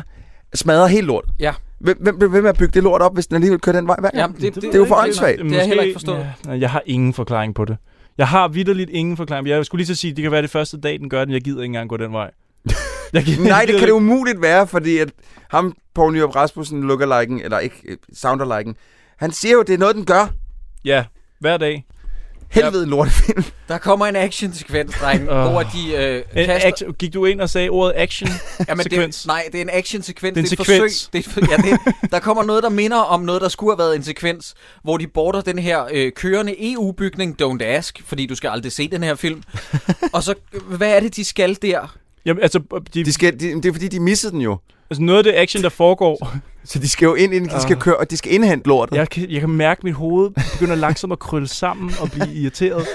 smadrer helt lort. Ja. Hvem hvem bliver ved med at bygge det lort op, hvis den alligevel kører den vej hver gang? Jamen, det- det- det er jo for det- åndssvagt. det- har jeg heller ikke forstået. Ja, jeg har ingen forklaring på det. Jeg har vidderligt ingen forklaring. Jeg skulle lige så sige, at det kan være det første dag, den gør den. Jeg gider ikke engang gå den vej. Jeg gider, (laughs) Nej, det kan det ikke. umuligt være, fordi at ham, Poul Nyrup Rasmussen, lookalikeen, eller ikke, øh, soundaliken, han siger jo, det er noget, den gør. Ja, hver dag. Helvede lortefilm. Der kommer en action-sekvens, drenge, Åh. hvor de øh, En, kaster... action, gik du ind og sagde ordet (laughs) action? Jamen, sekvens? det, nej, det er en action-sekvens. Det er en det er et sekvens. forsøg. Det er, et- ja, det, (laughs) er- der kommer noget, der minder om noget, der skulle have været en sekvens, hvor de border den her øh, kørende EU-bygning, Don't Ask, fordi du skal aldrig se den her film. og så, øh, hvad er det, de skal der? Jamen, altså, de, De skal, de, det er fordi, de missede den jo. altså, noget af det action, der (laughs) foregår... Så de skal jo ind, inden de Ah. skal køre, og de skal indhente lortet. Jeg kan, jeg kan mærke, at mit hoved begynder langsomt at krølle sammen og blive irriteret.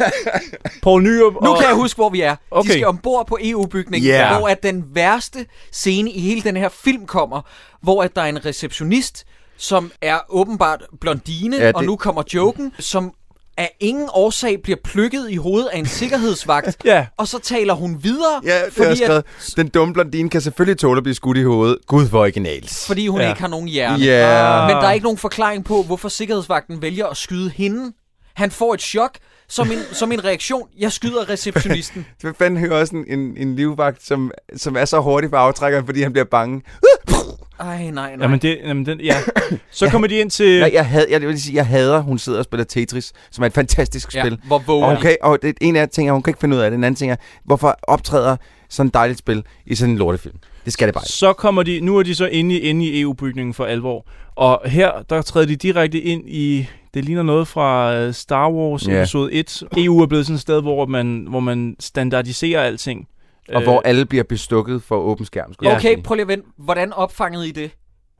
Poul Nyrup Nu og... kan jeg huske, hvor vi er. Okay. Okay. De skal ombord på EU-bygningen, Ja. yeah. hvor at den værste scene i hele den her film kommer, hvor at der er en receptionist, som er åbenbart blondine, Ja, ja, det- det... og nu kommer joken, som af ingen årsag bliver plukket i hovedet af en sikkerhedsvagt, Ja. og så taler hun videre, Ja, det har jeg skrevet. Den dumme blondine kan selvfølgelig tåle at blive skudt i hovedet. Gud, hvor originalt. fordi Ah. hun Ja. ja. ikke har nogen hjerne. Ja. Men der er ikke nogen forklaring på, hvorfor sikkerhedsvagten vælger at skyde hende. Han får et chok, som en, som en reaktion. Jeg skyder (laughs) receptionisten. Hvad fanden hører også en, en, en livvagt, som, som er så hurtig på aftrækkeren, fordi han bliver bange? Øh. Ej, nej, nej. Jamen, det, jamen den, ja. (coughs) Så kommer de ind til... Nej, jeg, had, jeg, vil sige, jeg hader, hun sidder og spiller Tetris, som er et fantastisk Ja, spil. hvor vågen. Og, hun kan, og det, en af ting er, hun kan ikke finde ud af det. Den anden ting er, hvorfor optræder sådan et dejligt spil i sådan en lortefilm? Det skal det bare. ikke. Så kommer de... Nu er de så inde i, inde i EU-bygningen for alvor. Og her, der træder de direkte ind i... Det ligner noget fra øh, Star Wars Ja. episode 1. EU er blevet sådan et sted, hvor man, hvor man standardiserer alting. Og Øh, hvor alle bliver bestukket for åben skærm. skulle jeg Okay, sige. prøv lige at vente. Hvordan opfangede I det?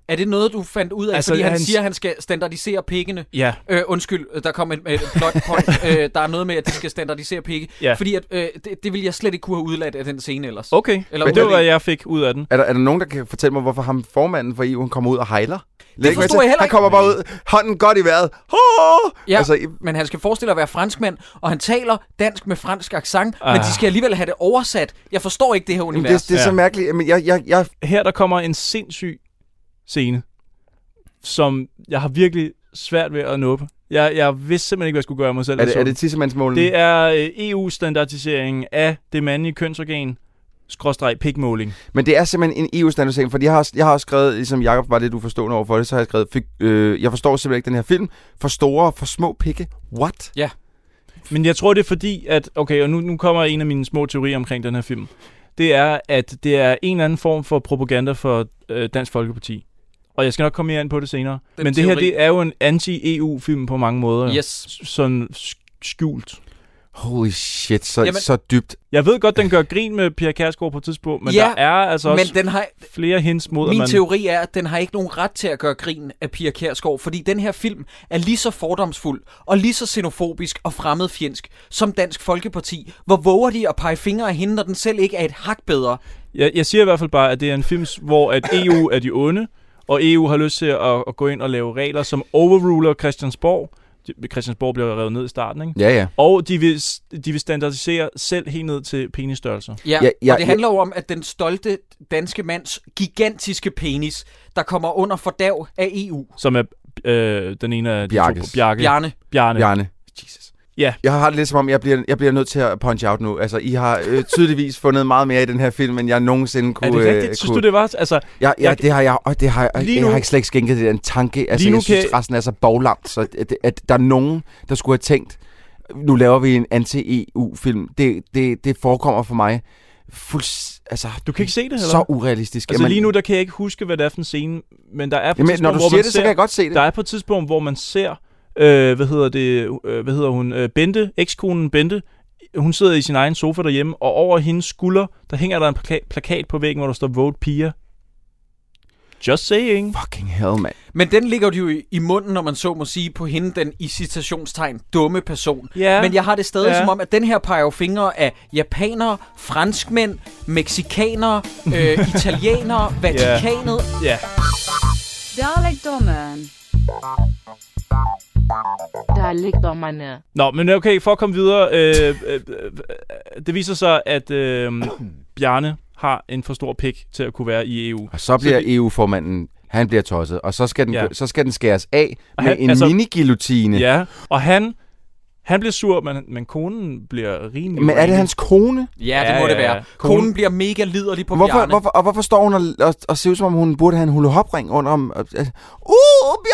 Er det noget, du fandt ud af? Altså, Altså, fordi han, han- han siger, at han skal standardisere pikkene. Ja, Øh, undskyld, der kom et, et plot point. øh, der er noget med, at de skal standardisere pikke. Ja. Fordi at, øh, det, det ville jeg slet ikke kunne have udladt af den scene ellers. okay. Eller Eller det var, udlænding. hvad jeg fik ud af den. Er der, er der nogen, der kan fortælle mig, hvorfor ham formanden for EU han kommer ud og hejler? Det forstod jeg heller Han ikke. kommer bare ud, hånden godt i vejret. Hå! Ja, Altså, altså, i- men han skal forestille at være franskmand, og han taler dansk med fransk accent, Ah. men de skal alligevel have det oversat. Jeg forstår ikke det her Jamen, univers. det, det er Ja. så mærkeligt. Men jeg, jeg, jeg, her der kommer en sindssyg scene, som jeg har virkelig svært ved at nåbe. Jeg, jeg vidste simpelthen ikke, hvad jeg skulle gøre af mig selv. er, det, er Altså, det Mm. tissemandsmålen? det er øh, EU-standardiseringen af det mandlige kønsorgan, skråstreg pigmåling. Men det er simpelthen en EU-standardisering, fordi jeg har, også- jeg har også skrevet, ligesom Jacob var lidt uforstående over for det, så har jeg skrevet, fik, øh, jeg forstår simpelthen ikke den her film, for store, for små pikke. What? Men jeg tror, det er fordi, at... Okay, og nu, nu kommer en af mine små teorier omkring den her film. Det er, at det er en eller anden form for propaganda for øh, Dansk Folkeparti. Og jeg skal nok komme mere ind på det senere. Den Men det her, teori. det er jo en anti-EU-film på mange måder. jo. Yes. S- Sådan sk- skjult. Holy shit, så, Jamen- så dybt. Jeg ved godt, den gør grin med Pia Kærsgaard på et tidspunkt, men Ja, der er altså også Men den har, flere hints mod, at Min man... teori er, at den har ikke nogen ret til at gøre grin af Pia Kærsgaard, fordi den her film er lige så fordomsfuld og lige så xenofobisk og fremmedfjendsk som Dansk Folkeparti. Hvor våger de at pege fingre af hende, når den selv ikke er et hak bedre? Jeg, jeg siger i hvert fald bare, at det er en film, hvor at EU er de onde, og EU har lyst til at, at gå ind og lave regler, som overruler Christiansborg. De- Christiansborg bliver revet ned i starten, ikke? Ja, ja. Og de vil, s- de vil standardisere selv helt ned til penisstørrelser. Ja, Ja, ja, ja, ja og det ja. handler jo om, at den stolte danske mands gigantiske penis, der kommer under fordav af EU. Som er øh, den ene af de Bjarkes. to. Bjarke. Bjarne. Bjarne. Bjarne. Jesus. Ja. Jeg har det lidt som om, jeg bliver, jeg bliver nødt til at punch out nu. Altså, I har øh, tydeligvis (laughs) fundet meget mere i den her film, end jeg nogensinde kunne... Er det øh, rigtigt? Synes kunne. du, det var... Altså, Ja, ja Jeg- det har jeg, og det har jeg, Lige jeg nu- har ikke slet ikke skænket det den tanke. Altså, Lige nu jeg synes, kan- resten er så boglamt, så at, at der er nogen, der skulle have tænkt, nu laver vi en anti-EU-film. Det, det, det forekommer for mig fulds... Altså, du kan ikke se det, eller? så urealistisk. altså lige nu, der kan jeg ikke huske, hvad det er for en scene, men der er på et jamen, tidspunkt, når du hvor siger man det, så ser, kan jeg godt se det. Der er på et tidspunkt, hvor man ser, øh, hvad hedder det, øh, hvad hedder hun, øh, Bente, ekskonen Bente, hun sidder i sin egen sofa derhjemme, og over hendes skulder, der hænger der en plaka- plakat på væggen, hvor der står Vote Pia. Just saying. Fucking hell, man. Men den ligger jo i, i munden, når man så må sige, på hende, den i citationstegn dumme person. Ja. Men jeg har det stadig Ja. ja. som om, at den her peger jo fingre af japanere, franskmænd, meksikanere, øh, italienere, Vatikanet. Ja. Dårligdommen. Dårligdommerne. Nå, men okay, for at komme videre. Øh, øh, øh, det viser sig, at øh, Bjarne har en for stor pik til at kunne være i E EU. Og så bliver EU-formanden, han bliver tosset, og så skal den, Ja. ja. så skal den skæres af Og med han- en altså- altså, minigillotine. Ja, og han, han bliver sur, men, men konen bliver rimelig Men er det hans kone? Ja, det må det være. Konen, bliver mega liderlig på Hvorfor, Bjarne. hvorfor, og hvorfor står hun og, og, og ser ud som om hun burde have en hulehopring under om? Uh, Bjarne!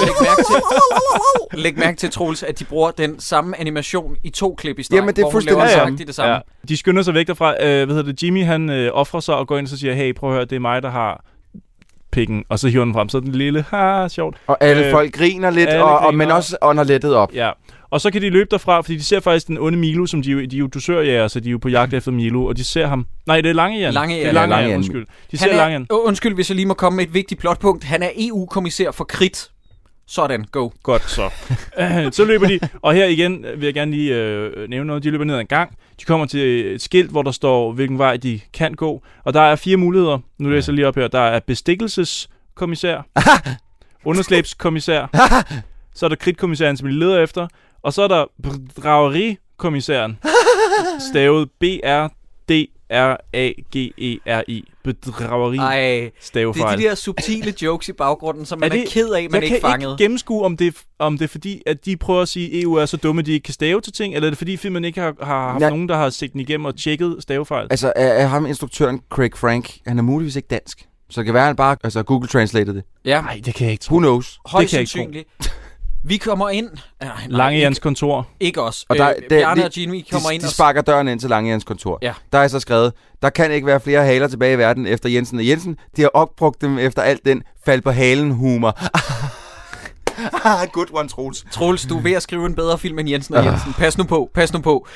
Læg mærke til, læg mærke til Troels, at de bruger den samme animation i to klip i streg, hvor hun laver nøjagtigt det samme. Ja. De skynder sig væk derfra. Øh, hvad hedder det? Jimmy, han øh, offrer sig og går ind og så siger, hey, prøv at høre, det er mig, der har pikken. Og så hiver den frem, så er den lille, (laughs) ha, sjovt. Og alle folk griner lidt, Øh, alle og, og, griner. men også ånder lettet op. Ja. Og så kan de løbe derfra, fordi de ser faktisk den onde Milo, som de, jo- de er jo dusørjæger, så de er jo på jagt efter Milo, og de ser ham. Nej, det er Langejan. Langejan. Det Ja, er Langejan, Langejan. undskyld. De Han ser er- Langejan. Åh, Undskyld, hvis jeg lige må komme med et vigtigt plotpunkt. Han er EU-kommissær for krit. Sådan, go. Godt så. så løber de, og her igen vil jeg gerne lige øh, nævne noget. De løber ned ad en gang. De kommer til et skilt, hvor der står, hvilken vej de kan gå. Og der er fire muligheder. Nu læser jeg lige op her. Der er (laughs) bestikkelseskommissær, underslæbskommissær, så er der kritkommissæren, som de leder efter, og så er der bedragerikommissæren, stavet B-R-D-R-A-G-E-R-I. E Bedrageri. Ej, Det er stavefejl de der subtile jokes i baggrunden, som man er, ked af, man jeg ikke kan fangede. ikke gennemskue, om det, er f- om det er fordi, at de prøver at sige, at EU er så dumme, at de ikke kan stave til ting, eller er det fordi, filmen ikke har, har haft Nej. nogen, der har set den igennem og tjekket stavefejl? Altså, er, er ham instruktøren Craig Frank, han er muligvis ikke dansk. Så det kan være, han bare altså, Google Translated det. Ja. Nej, det kan jeg ikke tro. Who knows? Højst sandsynligt. Vi kommer ind. Nej, nej, Lange i ikke- hans kontor. Ikke os. Og der, øh, det- Bjarne de- og Jimmy kommer de, ind De og- sparker døren ind til Langejans kontor. Ja. Der er så skrevet, der kan ikke være flere haler tilbage i verden efter Jensen og Jensen. De har opbrugt dem efter alt den fald på halen (laughs) humor. Good one, Troels. Troels, du er ved at skrive en bedre film end Jensen og Ah. Jensen. Pas nu på, pas nu på.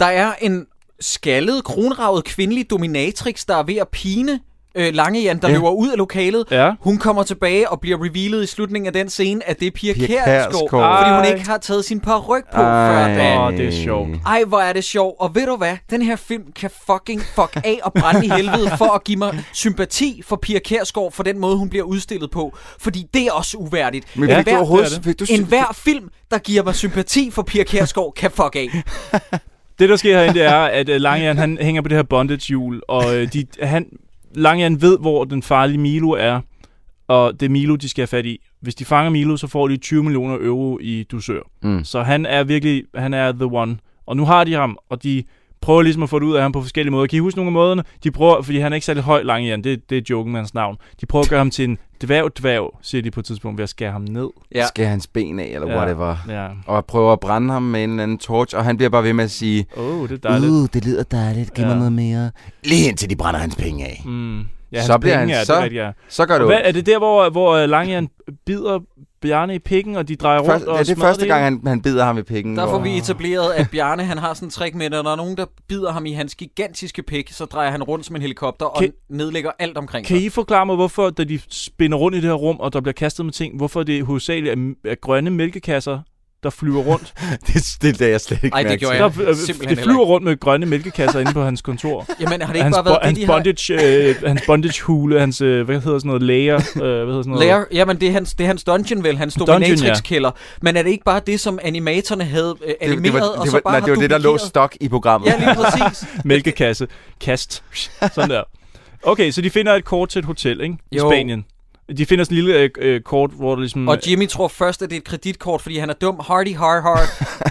Der er en skaldet, kronravet kvindelig dominatrix, der er ved at pine øh, Langejan, der Ja. løber ud af lokalet. Ja. Hun kommer tilbage og bliver revealet i slutningen af den scene, at det er Pia, Pia Kjærsgaard, Kjærsgaard. fordi hun Ej. ikke har taget sin peruk på før da. Åh, det er sjovt. Ej, hvor er det sjovt. Og ved du hvad? Den her film kan fucking fuck af og brænde i helvede for at give mig sympati for Pia Kærsgaard for den måde, hun bliver udstillet på. Fordi det er også uværdigt. Men fik du Enhver- overhovedet- Det er det. fik du sy- Enhver film, der giver mig sympati for Pia Kærsgaard, kan fuck af. Det, der sker herinde, det er, at øh, Langejan, han hænger på det her bondage-hjul, og øh, de, han, Langejan ved, hvor den farlige Milo er, og det er Milo, de skal have fat i. Hvis de fanger Milo, så får de 20 millioner euro i dusør. Mm. Så han er virkelig, han er the one. Og nu har de ham, og de prøver ligesom at få det ud af ham på forskellige måder. Kan I huske nogle af måderne? De prøver, fordi han er ikke særlig høj Langejan, det, det er joken med hans navn. De prøver at gøre ham til en dværg-dværg, siger de på et tidspunkt, ved at skære ham ned. Ja. Skære hans ben af, eller Ja. whatever. Ja. Og prøver at brænde ham med en eller anden torch, og han bliver bare ved med at sige, Oh, det er dejligt. Uh, det lyder dejligt, giv Ja. mig noget mere. Lige indtil de brænder hans penge af. Mm. Ja, så hans bliver han, penge er, det er rigtigt, ja. så, så gør Og det hvad, ondt. Er det der, hvor, hvor øh, Langejan bider Bjarne i pikken, og de drejer rundt Først, og ja, det er smadrer første hele? gang, han, han bider ham i pikken. Der får hvor- vi etableret, at Bjarne han har sådan en trick med, at når der er nogen, der bider ham i hans gigantiske pik, så drejer han rundt som en helikopter og Kan- nedlægger alt omkring Kan sig. I forklare mig, hvorfor, da de spinder rundt i det her rum, og der bliver kastet med ting, hvorfor det hovedsageligt er, er grønne mælkekasser, der (laughs) flyver rundt? (laughs) det, det lagde jeg slet ikke Ej, det mærke gjorde til. jeg. Der, øh, simpelthen det heller flyver ikke. rundt med grønne mælkekasser inde på hans (laughs) kontor. Jamen, har det ikke hans, bare været bo- det, hans de har- bondage, øh, hans bondage hule, hans, øh, hvad hedder sådan noget, layer, øh, hvad hedder sådan noget? Lair, jamen det er hans, det er hans dungeon vel, hans Dungeon, ja. dominatrix-kælder. Men er det ikke bare det, som animatorerne havde øh, Det, animeret, det, var, og det, så var, bare nej, har det var det, der lå duplikeret? stok i programmet. Ja, lige præcis. (laughs) Mælkekasse. Kast. Sådan der. Okay, så de finder et kort til et hotel, ikke? I Jo. Spanien. De finder sådan et lille øh, øh, kort, hvor der ligesom... Og Jimmy tror først, at det er et kreditkort, fordi han er dum, hardy, har, (laughs) har.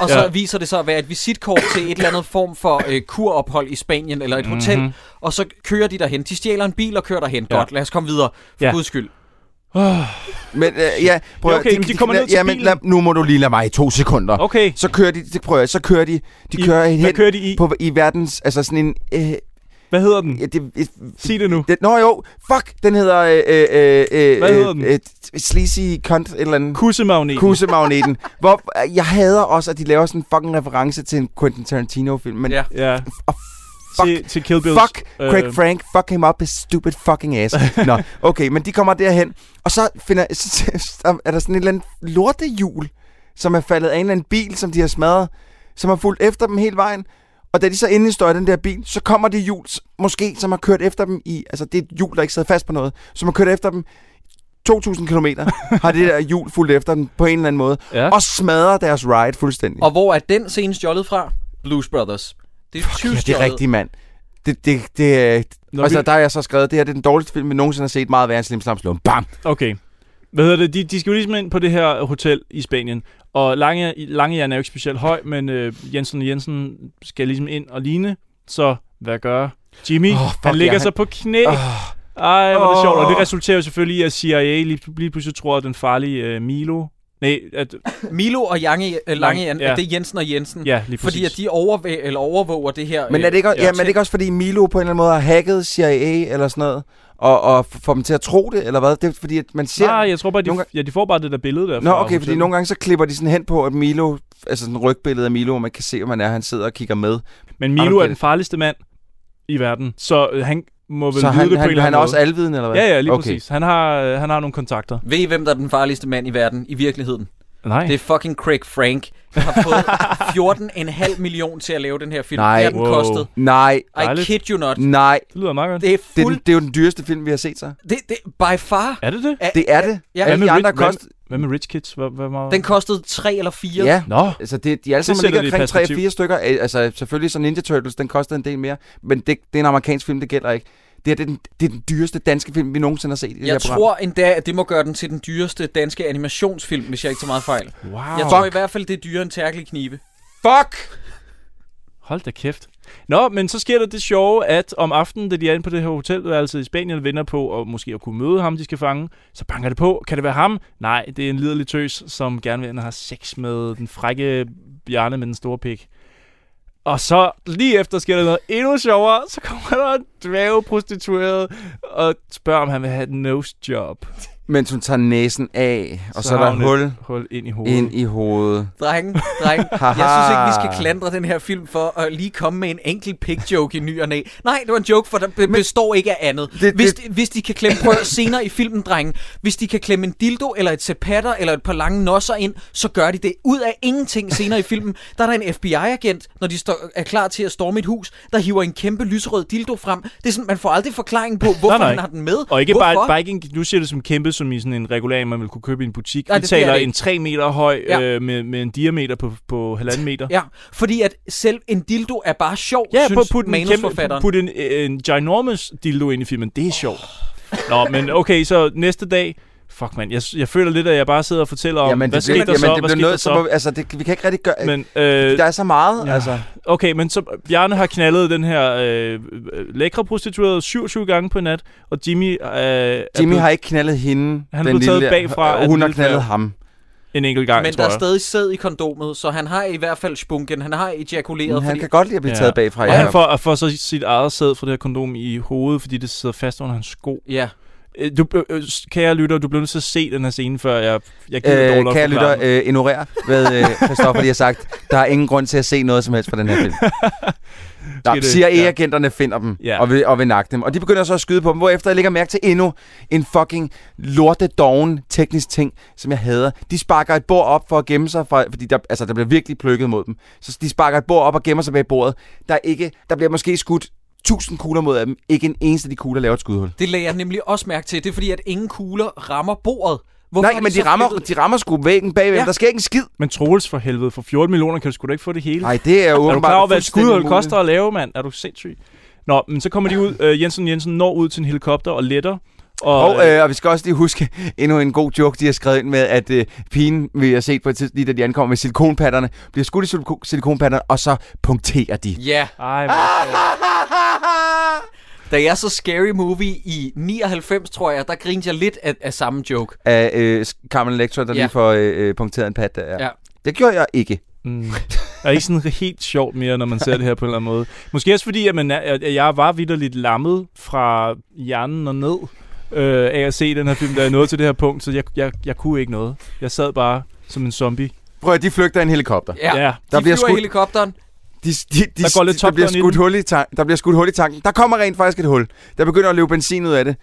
Og så Ja. viser det sig at være et visitkort til et eller andet form for øh, kurophold i Spanien eller et hotel. Mhm. Og så kører de derhen. De stjæler en bil og kører derhen. Ja. Godt, lad os komme videre. For Ja. guds skyld. Men øh, ja, prøv Ja, at- okay, men de kommer ned til ja, men bilen. lad, nu må du lige lade mig i to sekunder. Okay. Så kører de, det prøver jeg, så kører de, de I- kører hen hvad kører de i? På, i verdens, altså sådan en, øh, Hvad hedder den? ja, det, et, Sig det nu. det, nå jo, fuck, den hedder, øh, øh, øh, Hvad hedder den? Øh, øh, sleazy cunt, et eller andet. Kussemagneten. Kusemagneten. Hvor, øh, jeg hader også, at de laver sådan en fucking reference til en Quentin Tarantino-film, men Ja. ja. Ja. til, til Kill Bills. øh. Fuck Craig Frank, fuck him up his stupid fucking ass. (laughs) Nå, okay, men de kommer derhen, og så, finder, (laughs) så så er der sådan et eller andet lortehjul, som er faldet af en eller anden bil, som de har smadret, som har fulgt efter dem hele vejen. Og da de så endelig står i den der bil, så kommer det hjul, s- måske, som har kørt efter dem i... Altså, det er et hjul, der ikke sidder fast på noget, som har kørt efter dem 2.000 km (laughs) har det der hjul fulgt efter dem på en eller anden måde, ja. og smadrer deres ride fuldstændig. Og hvor er den scene stjålet fra? Blues Brothers. Det er Ja, tyvstjålet. det er rigtigt, mand. Det, det, det, er- Når altså, vi- der har jeg så skrevet, det her det er den dårligste film, vi nogensinde har set. Meget værre end Slim Slam Slum. Bam! Okay. Hvad hedder det? De, de skal jo ligesom ind på det her hotel i Spanien. Og Lange, Langejern er jo ikke specielt høj, men øh, Jensen og Jensen skal ligesom ind og ligne. Så hvad gør Jimmy? Oh, fuck han ligger ja, sig han- på knæ. Oh. Ah. Ej, hvor er det Åh. sjovt. Og det resulterer jo selvfølgelig i, at CIA lige, lige pludselig tror, at den farlige øh, Milo... Nej, at... Milo og Jange, øh, Lange, Lang- Jan, ja. ja. det er Jensen og Jensen. Ja, lige fordi at præcis. de overvæ- eller overvåger det her. Men er det, ikke, øh, ja, men er det ikke også, fordi Milo på en eller anden måde har hacket CIA eller sådan noget, og, og f- får dem til at tro det, eller hvad? Det er fordi, at man ser... Nej, jeg tror bare, de, nogle ja, de får bare det der billede der. Nå, okay, fordi nogle gange så klipper de sådan hen på, at Milo, altså sådan et rygbillede af Milo, hvor man kan se, hvor man er, han sidder og kigger med. Men Milo er den farligste mand i verden, så øh, han må vel Så vide han- det på en han- eller han anden er måde. også alvidende, eller hvad? Ja, ja, lige Okay. præcis. Han har, øh, han har nogle kontakter. Ved I, hvem der er den farligste mand i verden i virkeligheden? Nej. Det er fucking Craig Frank. Han har fået (laughs) 14,5 million til at lave den her film. Nej. Det har den Wow. kostet. Nej. I Dejligt. kid you not. Nej. Det lyder meget godt. Det er Det er, fuld- den, det er jo den dyreste film, vi har set så. Det, det, by far. Er det det? Det er det. Ja. Alle de andre kost... Hvad med Rich Kids? Hvad, hvad med... Den kostede 3 eller 4. Ja, Nå. altså det, de er alle Det sammen ligger sætter det i omkring 3 perspektiv. 4 stykker. Øh, Altså selvfølgelig så Ninja Turtles, den kostede en del mere, men det, det er en amerikansk film, det gælder ikke. Det, her, det, er den, det er den dyreste danske film, vi nogensinde har set i det her Jeg program. tror endda, at det må gøre den til den dyreste danske animationsfilm, hvis jeg ikke tager meget fejl. Wow. Jeg tror i hvert fald, det er dyrere end Tærkelig Knive. Fuck! Hold da kæft. Nå, men så sker der det sjove, at om aftenen, da de er inde på det her hotelværelse i Spanien, vender på at måske at kunne møde ham, de skal fange, så banker det på. Kan det være ham? Nej, det er en liderlig tøs, som gerne vil ind og have sex med den frække bjerne med den store pik. Og så lige efter sker der noget endnu sjovere, så kommer der en dvæve prostitueret og spørger, om han vil have et nose job. Mens hun tager næsen af, og så, så er har der hun et hul, hul ind i hovedet. Ind i hovedet. Drenge, drenge, (laughs) jeg synes ikke, vi skal klandre den her film for at lige komme med en enkelt pig joke i ny og næ. Nej, det var en joke, for der be- består ikke af andet. det- hvis, de, hvis de kan klemme, prøv at- senere i filmen, drenge, hvis de kan klemme en dildo eller et sepatter eller et par lange nosser ind, så gør de det. Ud af ingenting senere i filmen, der er der en FBI-agent, når de står, er klar til at storme et hus, der hiver en kæmpe lysrød dildo frem. Det er sådan, man får aldrig forklaring på, hvorfor nej. han har den med. Og ikke hvorfor? bare, bare ikke en, nu ser det som kæmpe, som i sådan en regulær, man vil kunne købe i en butik. Nej, Nej, Vi det bliver taler det en ikke. 3 meter høj Ja. ja. øh, med, med en diameter på, på halvanden meter. Ja, fordi at selv en dildo er bare sjov, Ja, synes put, put, en, kæmpe, manusforfatteren. put en, øh, en ginormous dildo ind i filmen. Det er sjovt. Nå, men okay, så næste dag... Fuck, mand. Jeg, jeg føler lidt, at jeg bare sidder og fortæller om, Jamen, hvad det bliver, skete der jamen, så? det bliver Hvad skete der noget, så så? må, altså, det, vi kan ikke rigtig gøre... Men, Men, øh, øh, der er så meget, ja. altså. Okay, men så Bjarne har knaldet den her øh, øh, lækre prostituerede 27 gange på nat, og Jimmy... Øh, er Jimmy blevet- har ikke knaldet hende. Han den blev taget lille- bagfra af Og den hun har lille knaldet dværg. ham. En enkelt gang, Men tror der er jeg. stadig sæd i kondomet, så han har i hvert fald spunken, han har ejakuleret. Men han kan godt lide at blive taget bagfra, Og han Jacob. får, og får så sit eget sæd fra det her kondom i hovedet, fordi det sidder fast under hans sko. Ja. Øh, Du, øh, øh, kære lytter, du bliver nødt til at se den her scene, før jeg, jeg giver øh, Øh, dårlig kære lytter, øh, ignorer, hvad øh, Christoffer lige har sagt. Der er ingen grund til at se noget som helst fra den her film. det- Der, siger E-agenterne finder dem Ja. og, vil, og vil nakke dem. Og de begynder så at skyde på dem, hvorefter jeg lægger mærke til endnu en fucking lortedoven teknisk ting, som jeg hader. De sparker et bord op for at gemme sig, fra, fordi der, altså, der bliver virkelig plukket mod dem. Så de sparker et bord op og gemmer sig bag bordet. Der, er ikke, der bliver måske skudt 1000 kugler mod dem. Ikke en eneste af de kugler laver et skudhul. Det lagde jeg nemlig også mærke til. Det er fordi, at ingen kugler rammer bordet. Hvorfor er Nej, men de så rammer, flippet? de rammer sgu væggen bagved. Ja. Ja. Der sker ikke en skid. Men Troels for helvede, for 14 millioner kan du sgu da ikke få det hele. Nej, det øh- er jo er du åbenbart klar over, hvad et fuldstændig skudhold umuligt. koster at lave, mand? Er du sindssyg? Nå, men så kommer de ud. Øh, Jensen Jensen når ud til en helikopter og letter. Og, Og, øh, og vi skal også lige huske (laughs) endnu en god joke, de har skrevet ind med, at øh, pigen, vi har set på et tidspunkt, lige da de ankommer med silikonpatterne, bliver skudt i siliko- silikonpatterne, og så punkterer de. Ja. Ej, Ah! Da jeg så Scary Movie i 99, tror jeg, der grinte jeg lidt af, af samme joke. Af øh, Carmen Electra, der Ja. ja. lige får øh, øh, punkteret en pat der. Ja. Det gjorde jeg ikke. Mm. er ikke sådan helt sjovt mere, når man ser det her på en eller anden måde. Måske også fordi, at, man er, at jeg var vidderligt lammet fra hjernen og ned øh, af at se den her film, da jeg nåede til det her punkt, så jeg, jeg, jeg kunne ikke noget. Jeg sad bare som en zombie. Prøv at de flygter i en helikopter. Ja. Ja. De Der der bliver flyver skudt. i skudt- helikopteren. De, de, de, Der går lidt der Top bliver Gun i skudt den. hul i tanken. Der bliver skudt hul i tanken. Der kommer rent faktisk et hul. Der begynder at løbe benzin ud af det.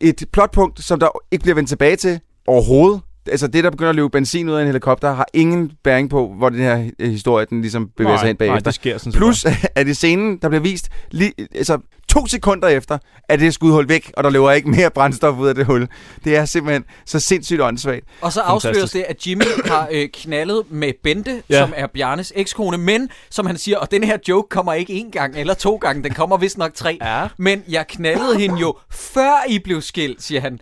Et plotpunkt, som der ikke bliver vendt tilbage til overhovedet. Altså det, der begynder at løbe benzin ud af en helikopter, har ingen bæring på, hvor den her øh, historie den ligesom bevæger Nej, sig hen nej, bagefter. det sker sådan set Plus, (laughs) at i scenen, der bliver vist, lige, altså to sekunder efter, at det skud hul væk, og der løber ikke mere brændstof ud af det hul. Det er simpelthen så sindssygt åndssvagt. Og så afsløres det, at Jimmy (coughs) har øh, knaldet med Bente, Ja. ja. som er Bjarnes ekskone, men som han siger, og den her joke kommer ikke én gang eller to gange, den kommer vist nok tre. Ja. Men jeg knaldede hende jo, før I blev skilt, siger han.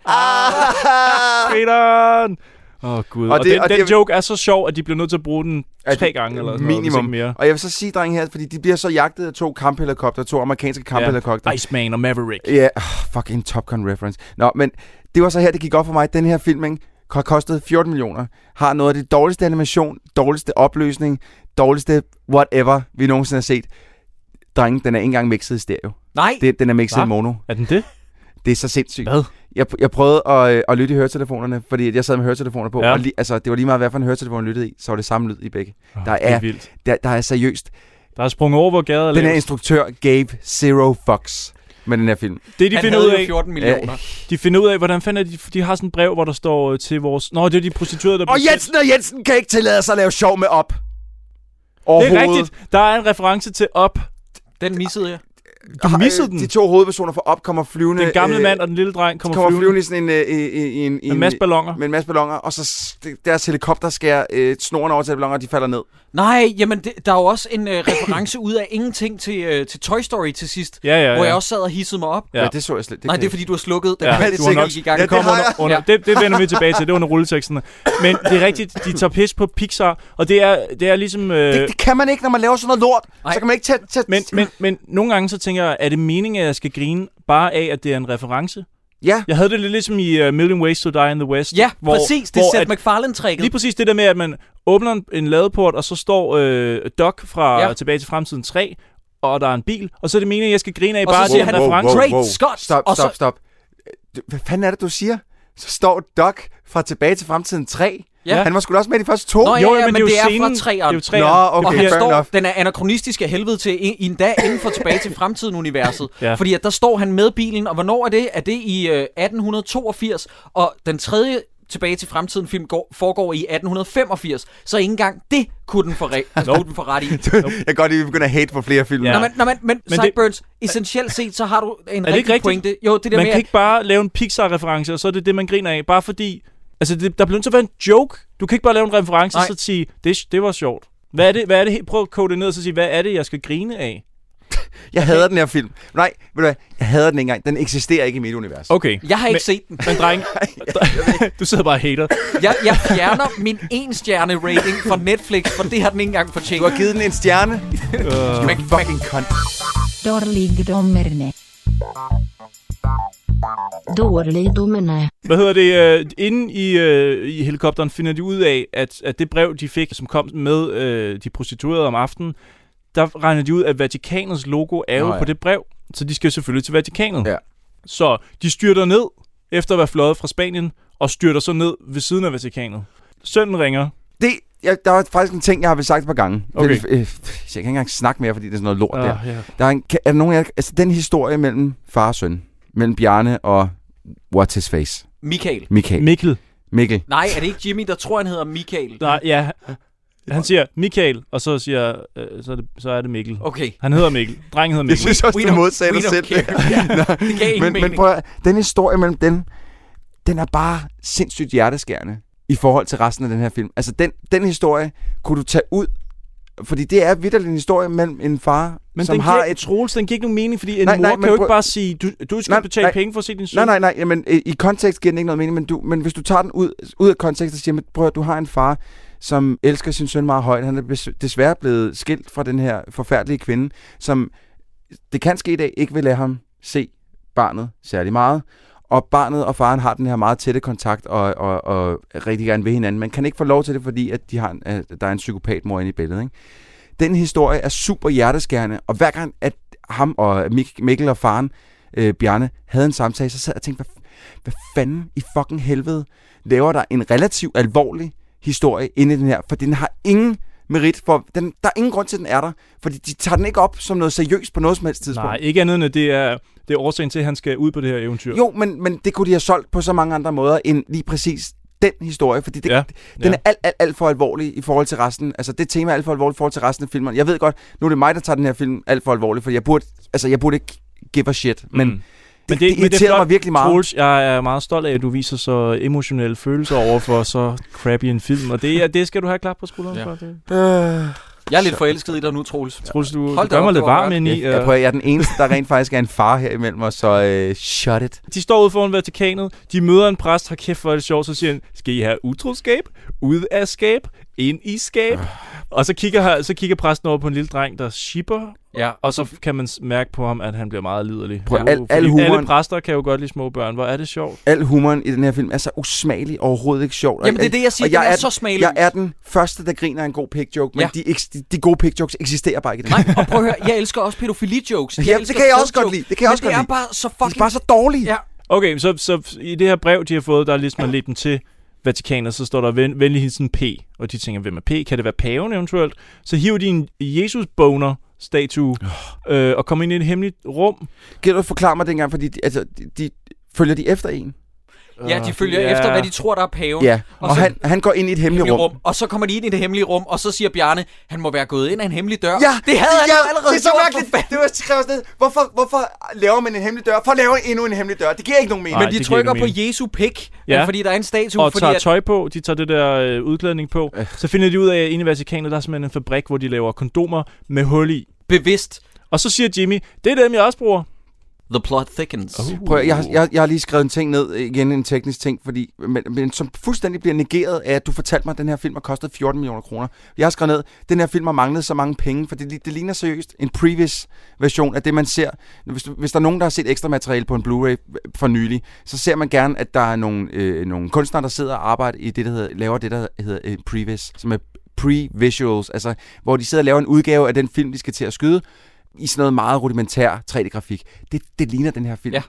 Peter! Åh, oh, gud. Og, Og og det- den, og den det- joke er så sjov, at de bliver nødt til at bruge den At- tre gange eller sådan noget, hvis minimum. ikke mere. Og jeg vil så sige, drenge her, fordi de bliver så jagtet af to kamphelikopter, to amerikanske kamphelikopter. Ja. Iceman og Maverick. Ja, yeah. fuck en Top Gun reference. Nå, men det var så her, det gik op for mig, at den her film, ikke, har kostet 14 millioner, har noget af det dårligste animation, dårligste opløsning, dårligste whatever, vi nogensinde har set. Drenge, den er ikke engang mixet i stereo. Nej. Det, den er mixet Hva? i mono. Er den det? Det er så sindssygt. Hvad? Jeg, jeg prøvede at, øh, at lytte i høretelefonerne, fordi at jeg sad med høretelefoner på, Ja. ja. og li, altså, det var lige meget, hvad for en høretelefon jeg lyttede i, så var det samme lyd i begge. Åh, der, det er er, Ah, vildt. Der, der er seriøst. Der er sprunget over, hvor gader er Den her lavest. instruktør gave zero fucks med den her film. Det de Han finder ud havde af. jo 14 millioner. De finder ud af, hvordan fanden er de, de har sådan et brev, hvor der står øh, til vores... Nå, det er de prostituerede, der Og bliver Jensen og Jensen kan ikke tillade sig at lave sjov med op. sendt. Det er rigtigt. Der er en reference til op. Den missede jeg. Du missede den. øh, De to hovedpersoner fra op kommer flyvende. Den gamle øh, mand og den lille dreng kommer, kommer flyvende i sådan en... Øh, i, i, i en, i En masse ballonger. Med en masse ballonger, og så s- deres helikopter skærer øh, snoren over til de ballonger, og de falder ned. Nej, jamen det, der er jo også en øh, reference ud af ingenting til, øh, til Toy Story til sidst, Ja, ja, hvor ja. jeg også sad og hissede mig op. Ja. Ja, det så jeg slet- det Nej, kan det er jeg fordi, ikke. du har slukket den. Ja, Ja, det du har nok, i gang. det kommer under, under. Ja. Det, det vender vi tilbage til, det er under rulleteksten. Men det er rigtigt, de tager pis på Pixar, og det er, det er ligesom... Øh, Det, det kan man ikke, når man laver sådan noget lort. Nej. Så kan man ikke tage... tage Men, men, men nogle gange så tænker jeg, er det meningen, at jeg skal grine bare af, at det er en reference? Ja. Jeg havde det lidt ligesom i uh, Million Ways to Die in the West. Ja, præcis. Det er Seth at- MacFarlane-tricket. Lige præcis det der med, at man åbner en, en ladeport, og så står øh, Doc fra ja. Ja. Tilbage til Fremtiden 3, og der er en bil, og så er det meningen, at jeg skal grine af Og så bare, at det er siger en han, reference. Great Scott! Stop, Og stop, så- stop. Øh, Hvad fanden er det, du siger? Så står Doc fra Tilbage til Fremtiden 3. Ja. Ja. Han var sgu da også med i de første to. Nå, ja, Jo, jo, ja, ja, men men, det er jo det er, scenen. fra træeren. Det er jo træeren. Nå, okay, og han fair står, enough. den er anachronistisk af helvede til en, en dag inden for tilbage til fremtiden-universet. (laughs) Ja. ja. Fordi at der står han med bilen, og hvornår er det? Er det i øh, 1882? Og den tredje tilbage til fremtiden film går, foregår i 1885, så ikke engang det kunne den få, (laughs) re- altså, kunne den få ret i. Jeg kan godt lide, at vi begynder at hate på flere film. Ja. Ja. Nå, men, nå, men, men, Men men det- Sideburns, essentielt set, så har du en Er det rigtig ikke rigtigt? pointe. Jo, det der man med, kan at- ikke bare lave en Pixar-reference, og så er det det, man griner af. Bare fordi... Altså, det, der bliver nødt til at være en joke. Du kan ikke bare lave en reference og Nej. så sige, det, det var sjovt. Hvad er det? Hvad er det? helt- Prøv at kode det ned og så sige, hvad er det, jeg skal grine af? Jeg hader den her film. Nej, ved du hvad? Jeg hader den ikke engang. Den eksisterer ikke i mit univers. Okay. jeg har ikke men, set den. Men (laughs) dreng, (laughs) du sidder bare og hater. Jeg, jeg fjerner min en-stjerne rating fra Netflix, for det har den ikke engang fortjent. Du har givet den en stjerne. (laughs) Øh. man, Fucking cunt. Dårligdommerne. Dårligdommerne. Hvad hedder det? Øh, inde i, øh, i helikopteren finder de ud af, at, at det brev, de fik, som kom med øh, de prostituerede om aftenen, der regner de ud, at Vatikanets logo er jo Nå, ja. ja. på det brev. Så de skal selvfølgelig til Vatikanet. Ja. Så de styrter ned, efter at være fløjet fra Spanien, og styrter så ned ved siden af Vatikanet. Sønnen ringer. Det, jeg, der er faktisk en ting, jeg har vel sagt et par gange. Okay. Den, øh, jeg kan ikke engang snakke mere, fordi det er sådan noget lort Ah, der. ja. der er, en, kan, er der nogen af jer, altså den historie mellem far og søn, mellem Bjarne og what's his face? Michael. Michael. Mikkel. Mikkel. Nej, er det ikke Jimmy, der tror, han hedder Michael? Nej, ja. Han siger Michael, og så siger øh, så, er det, så er det Mikkel. Okay. Han hedder Mikkel. Drengen hedder Mikkel. Jeg synes også, We du don't- modsagde we dig don't selv. (laughs) care. Ja, det gav ingen men, men mening. prøv at, den historie mellem den, den er bare sindssygt hjerteskærende i forhold til resten af den her film. Altså, den, den historie kunne du tage ud, fordi det er vitterlig en historie mellem en far, Men som den har giver, et... et... Troels, den giver ikke nogen mening, fordi en nej, Nej, nej, mor nej, kan men jo ikke prøv- bare sige, du, du skal nej, Nej, betale nej. nej. penge for at se din søn. Nej, nej, nej, jamen, i i kontekst giver den ikke noget mening, men, du, men hvis du tager den ud, ud af kontekst og siger, men prøv at du har en far, som elsker sin søn meget højt, han er bes- desværre blevet skilt fra den her forfærdelige kvinde, som det kan ske i dag, ikke vil lade ham se barnet særlig meget. Og barnet og faren har den her meget tætte kontakt og, og, og rigtig gerne vil hinanden. Man kan ikke få lov til det, fordi at de har en, at der er en psykopatmor inde i billedet. Ikke? Den historie er super hjerteskærende, og hver gang at ham og Mik- Mikkel og faren, øh, Bjarne, havde en samtale, så sad jeg og tænkte, hvad, f- hvad fanden i fucking helvede laver der en relativt alvorlig historie inde i den her? For den har ingen merit, for den, der er ingen grund til, at den er der, fordi de tager den ikke op som noget seriøst på noget som helst tidspunkt. Nej, ikke andet end, at det er, det er årsagen til, at han skal ud på det her eventyr. Jo, men, men det kunne de have solgt på så mange andre måder, end lige præcis den historie, fordi det, Ja, ja. den ja. er alt, alt, alt for alvorlig i forhold til resten. Altså, det tema er alt for alvorligt i forhold til resten af filmen. Jeg ved godt, nu er det mig, der tager den her film alt for alvorligt, for jeg burde, altså, jeg burde ikke give a shit, men mm. det, det, det irriterer flot, mig virkelig meget. Troels, jeg er meget stolt af, at du viser så emotionelle følelser over for så crappy en film, og det, er- det skal du have klap på skulderen ja. Ja. for. Det. Øh. Jeg er lidt forelsket i dig nu, Troels. Troels, du, Hold du da gør op, mig lidt det var varm godt. ind i. øh, Jeg, jeg, prøver, jeg er den eneste, der rent faktisk er en far her imellem os, så øh, shut it. De står ude foran Vatikanet, de møder en præst, har kæft for det sjovt, så siger han, skal I have utroskab, ud af skab, ind i skab? Øh. Og så kigger, her- så kigger præsten over på en lille dreng, der shipper, Ja. og så kan man s- mærke på ham, at han bliver meget liderlig. Prøv, Ja, al- fordi al alle humoren- præster kan jo godt lide små børn, hvor er det sjovt. Al humoren i den her film er så usmagelig, overhovedet ikke sjov. Og Jamen, det er det, jeg siger, og den er den- så smagløs. Jeg er den første, der griner af en god pig joke, men Ja. ja. de, eks- de, de, gode pig jokes eksisterer bare ikke i den her. Og prøv at høre, jeg elsker også pædofili-jokes. Jeg Jamen, det elsker kan jeg også fed-jokes, godt lide. Det kan jeg men også godt det er lide. bare så fucking... De er bare så dårlige. Ja. Okay, så, så i det her brev, de har fået, der er ligesom at lede dem til Vatikanet, så står der ven, venlig hilsen P, og de tænker, hvem er P? Kan det være paven eventuelt? Så hiver de en Jesus boner statue øh, og kommer ind i et hemmeligt rum. Kan du forklare mig dengang, fordi de, altså, de, de, følger de efter en? Ja, de følger Ja. efter, hvad de tror, der er paven. Ja, og, og så- han, han går ind i et hemmeligt rum. rum. Og så kommer de ind i det hemmelige rum, og så siger Bjarne, han må være gået ind af en hemmelig dør. Ja, det havde han ja, jo allerede Det er så gjort, for mærkeligt. Det var skrevet sådan, lidt, hvorfor, hvorfor laver man en hemmelig dør? For at lave endnu en hemmelig dør. Det giver ikke nogen mening. Nej, Men de det giver trykker ikke på mening. Jesu pik, Ja. ja. fordi der er en statue. og fordi tager at- tøj på, de tager det der øh, udklædning på. Øh. Så finder de ud af, at inde i Vatikanet, der er simpelthen en fabrik, hvor de laver kondomer med hul i. Bevidst. Og så siger Jimmy, det er dem, jeg også bruger. The plot thickens. Men, prøv, at- jeg, har- jeg, jeg har lige skrevet en ting ned, øh, igen en teknisk ting, fordi, men, men som fuldstændig bliver negeret af, at du fortalte mig, at den her film har kostet 14 millioner kroner. Jeg har skrevet ned, at den her film har manglet så mange penge, for det, li- det ligner seriøst en previous version af det, man ser. Hvis, du- hvis der er nogen, der har set ekstra materiale på en Blu-ray øh, for nylig, så ser man gerne, at der er nogle, øh, nogle kunstnere, der sidder og arbejder i det, der hedder, laver det, der hedder øh, previous, som er pre-visuals, altså hvor de sidder og laver en udgave af den film, de skal til at skyde, i sådan noget meget rudimentær 3D-grafik. Det, det ligner den her film. Ja.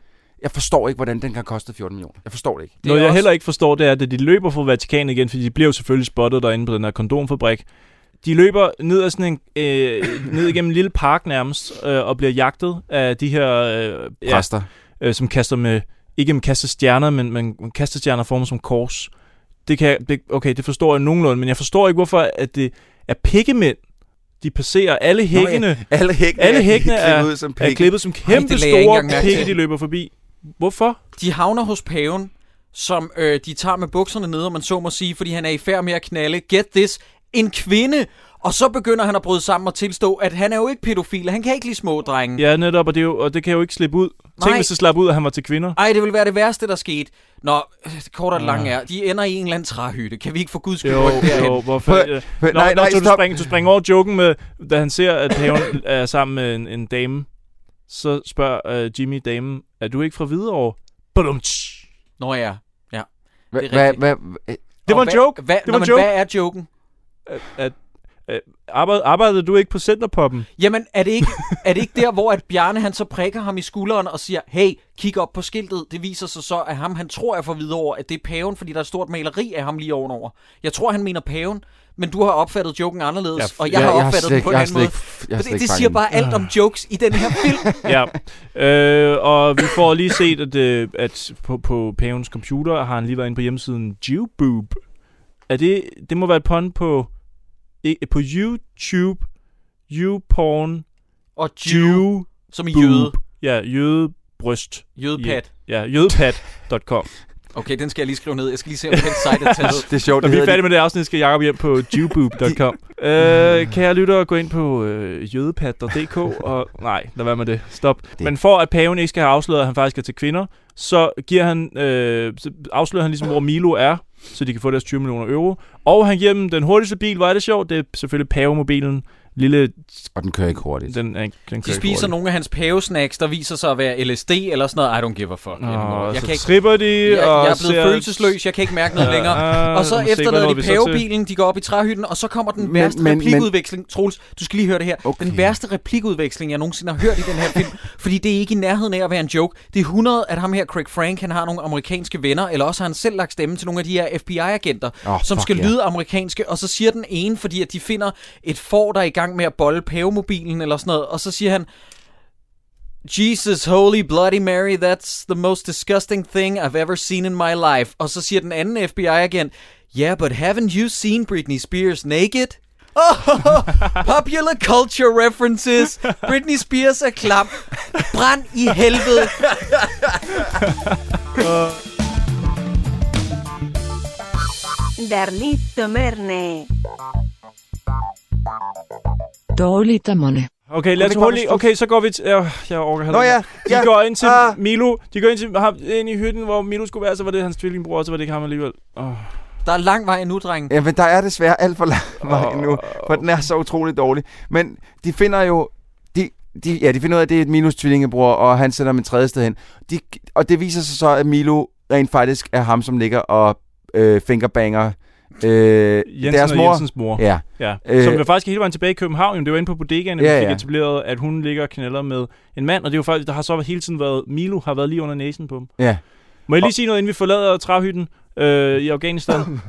Jeg forstår ikke, hvordan den kan koste 14 millioner. Jeg forstår det ikke. Noget jeg heller ikke forstår, det er, at de løber fra Vatikanet igen, fordi de bliver jo selvfølgelig spottet derinde på den her kondomfabrik. De løber ned ad sådan en, øh, ned igennem en lille park nærmest, øh, og bliver jagtet af de her... Øh, ja, Præster. øh, som kaster med... Ikke man kaster stjerner, men man kaster stjerner formet som kors. Det kan, jeg- det, okay, det forstår jeg nogenlunde, men jeg forstår ikke, hvorfor at det er pikkemænd, de passerer alle ja. hækkene. Alle hækkene alle er hækkene er, klippet ud som er pikke. klippet som Ej, kæmpe det lagde jeg ikke engang store mærke pikke, til. de løber forbi. Hvorfor? De havner hos paven, som øh, de tager med bukserne nede, om man så må sige, fordi han er i færd med at knalde, get this, en kvinde. Og så begynder han at bryde sammen og tilstå, at han er jo ikke pædofil, og han kan ikke lide små drenge. Ja, netop, og det, er jo, og det kan jeg jo ikke slippe ud. Nej. Tænk, Nej. hvis det slap ud, at han var til kvinder. Ej, det ville være det værste, der skete. Nå, øh, kort og det lange er, de ender i en eller anden træhytte. Kan vi ikke for guds skyld Jo, rykke derhen? jo, hvorfor? Prøv- øh, prøv- Nå, nej, nå, nej, så du, stop. springer, du springer over joken med, da han ser, at paven (laughs) er sammen med en, en dame. Så spørger øh, Jimmy damen, er du ikke fra Hvidovre? Badum, tsch. Nå ja, ja. Hva, Det er hva, rigtigt. hva, hva, Det var Og en hvad- joke. Hvad, Det det var var en men joke. hvad er joken? At, at, øh, arbejde, arbejdede du ikke på Centerpoppen? Jamen, er det ikke, er det ikke der, hvor at Bjarne han så prikker ham i skulderen og siger, hey, kig op på skiltet. Det viser sig så, at ham han tror er for videre over, at det er paven, fordi der er et stort maleri af ham lige ovenover. Jeg tror, han mener paven, men du har opfattet joken anderledes, Ja, f- og jeg ja, har jeg har opfattet slet den på en ikke- jeg har anden slet måde. ikke- jeg har Men slet det, ikke det siger fanget Ah. bare alt om jokes i den her (laughs) film. ja. Øh, og vi får lige set, at, øh, at på, på pavens computer har han lige været inde på hjemmesiden Jewboob. Er det, det må være et pun på, i- på YouTube, YouPorn, Og Jew, Jew, som i jøde. Ja, jødebryst. Jødepat. Ja, jødepat.com. Okay, den skal jeg lige skrive ned. Jeg skal lige se, om den site er (laughs) taget. det er sjovt. Når Det vi er hedder færdige med det afsnit, skal Jacob hjem på jewboob.com. øh, kære lyttere, gå ind på øh, jødepat.dk og... Nej, lad være med det. Stop. Det. Men for at paven ikke skal have afsløret, at han faktisk er til kvinder, så, giver han, øh, så afslører han ligesom, hvor Milo er, så de kan få deres 20 millioner euro. Og han giver dem den hurtigste bil. Hvor er det sjovt? Det er selvfølgelig pavemobilen. lille... Og den kører ikke hurtigt. Den, den, den De spiser nogle af hans pævesnacks, der viser sig at være LSD eller sådan noget. I don't give a fuck. anymore. Og jeg så tripper de, jeg, og jeg er blevet ser- følelsesløs, jeg kan ikke mærke noget Ja, længere. ah, Og så nu sikrer efterlader noget, de vi så til. pavebilen, de går op i træhytten, og så kommer den Men- værste men- men- replikudveksling. Troels, du skal lige høre det her. Den værste replikudveksling, jeg nogensinde har hørt i den her film. fordi det er ikke i nærheden af at være en joke. Det er 100, at ham her, Craig Frank, han har nogle amerikanske venner, eller også har han selv lagt stemme til nogle af de her FBI-agenter, Åh, som fuck skal ja. lyde amerikanske, og så siger den ene, fordi at de finder et får, der er i gang med at bolle pavemobilen eller sådan noget, og så siger han, Jesus holy bloody Mary, that's the most disgusting thing I've ever seen in my life. Og så siger den anden FBI agent, Yeah, but haven't you seen Britney Spears naked? (laughs) Oh, popular culture references. Britney Spears er klam. Brand i helvede. Darlito Merne. Dårligt af mig. Okay, lad Og os det kommer hurtigt. lige- Okay, så går vi til... Øh, jeg overgår heller Nå ikke. ja, De ja, går ind til ah. Milo. De går ind, til, ham, ind i hytten, hvor Milo skulle være, så var det hans tvillingbror, og så var det ikke ham alligevel. Oh. Der er lang vej endnu, dreng. Ja, men der er desværre alt for lang vej nu, for den er så utrolig dårlig. Men de finder jo... De, de, ja, de finder ud af, at det er et Milos tvillingebror, og han sender dem et tredje sted hen. De, og det viser sig så, at Milo rent faktisk er ham, som ligger og øh, fingerbanger øh, Jensen deres og mor. Jensens mor. Ja. ja. Øh, Som øh, faktisk hele vejen tilbage i København. Jamen, det var inde på bodegaen, at Ja, vi fik ja. etableret, at hun ligger og knaller med en mand. Og det er jo faktisk, der har så hele tiden været... Milo har været lige under næsen på dem. ja. Må jeg lige sige noget, inden vi forlader træhytten øh, i Afghanistan?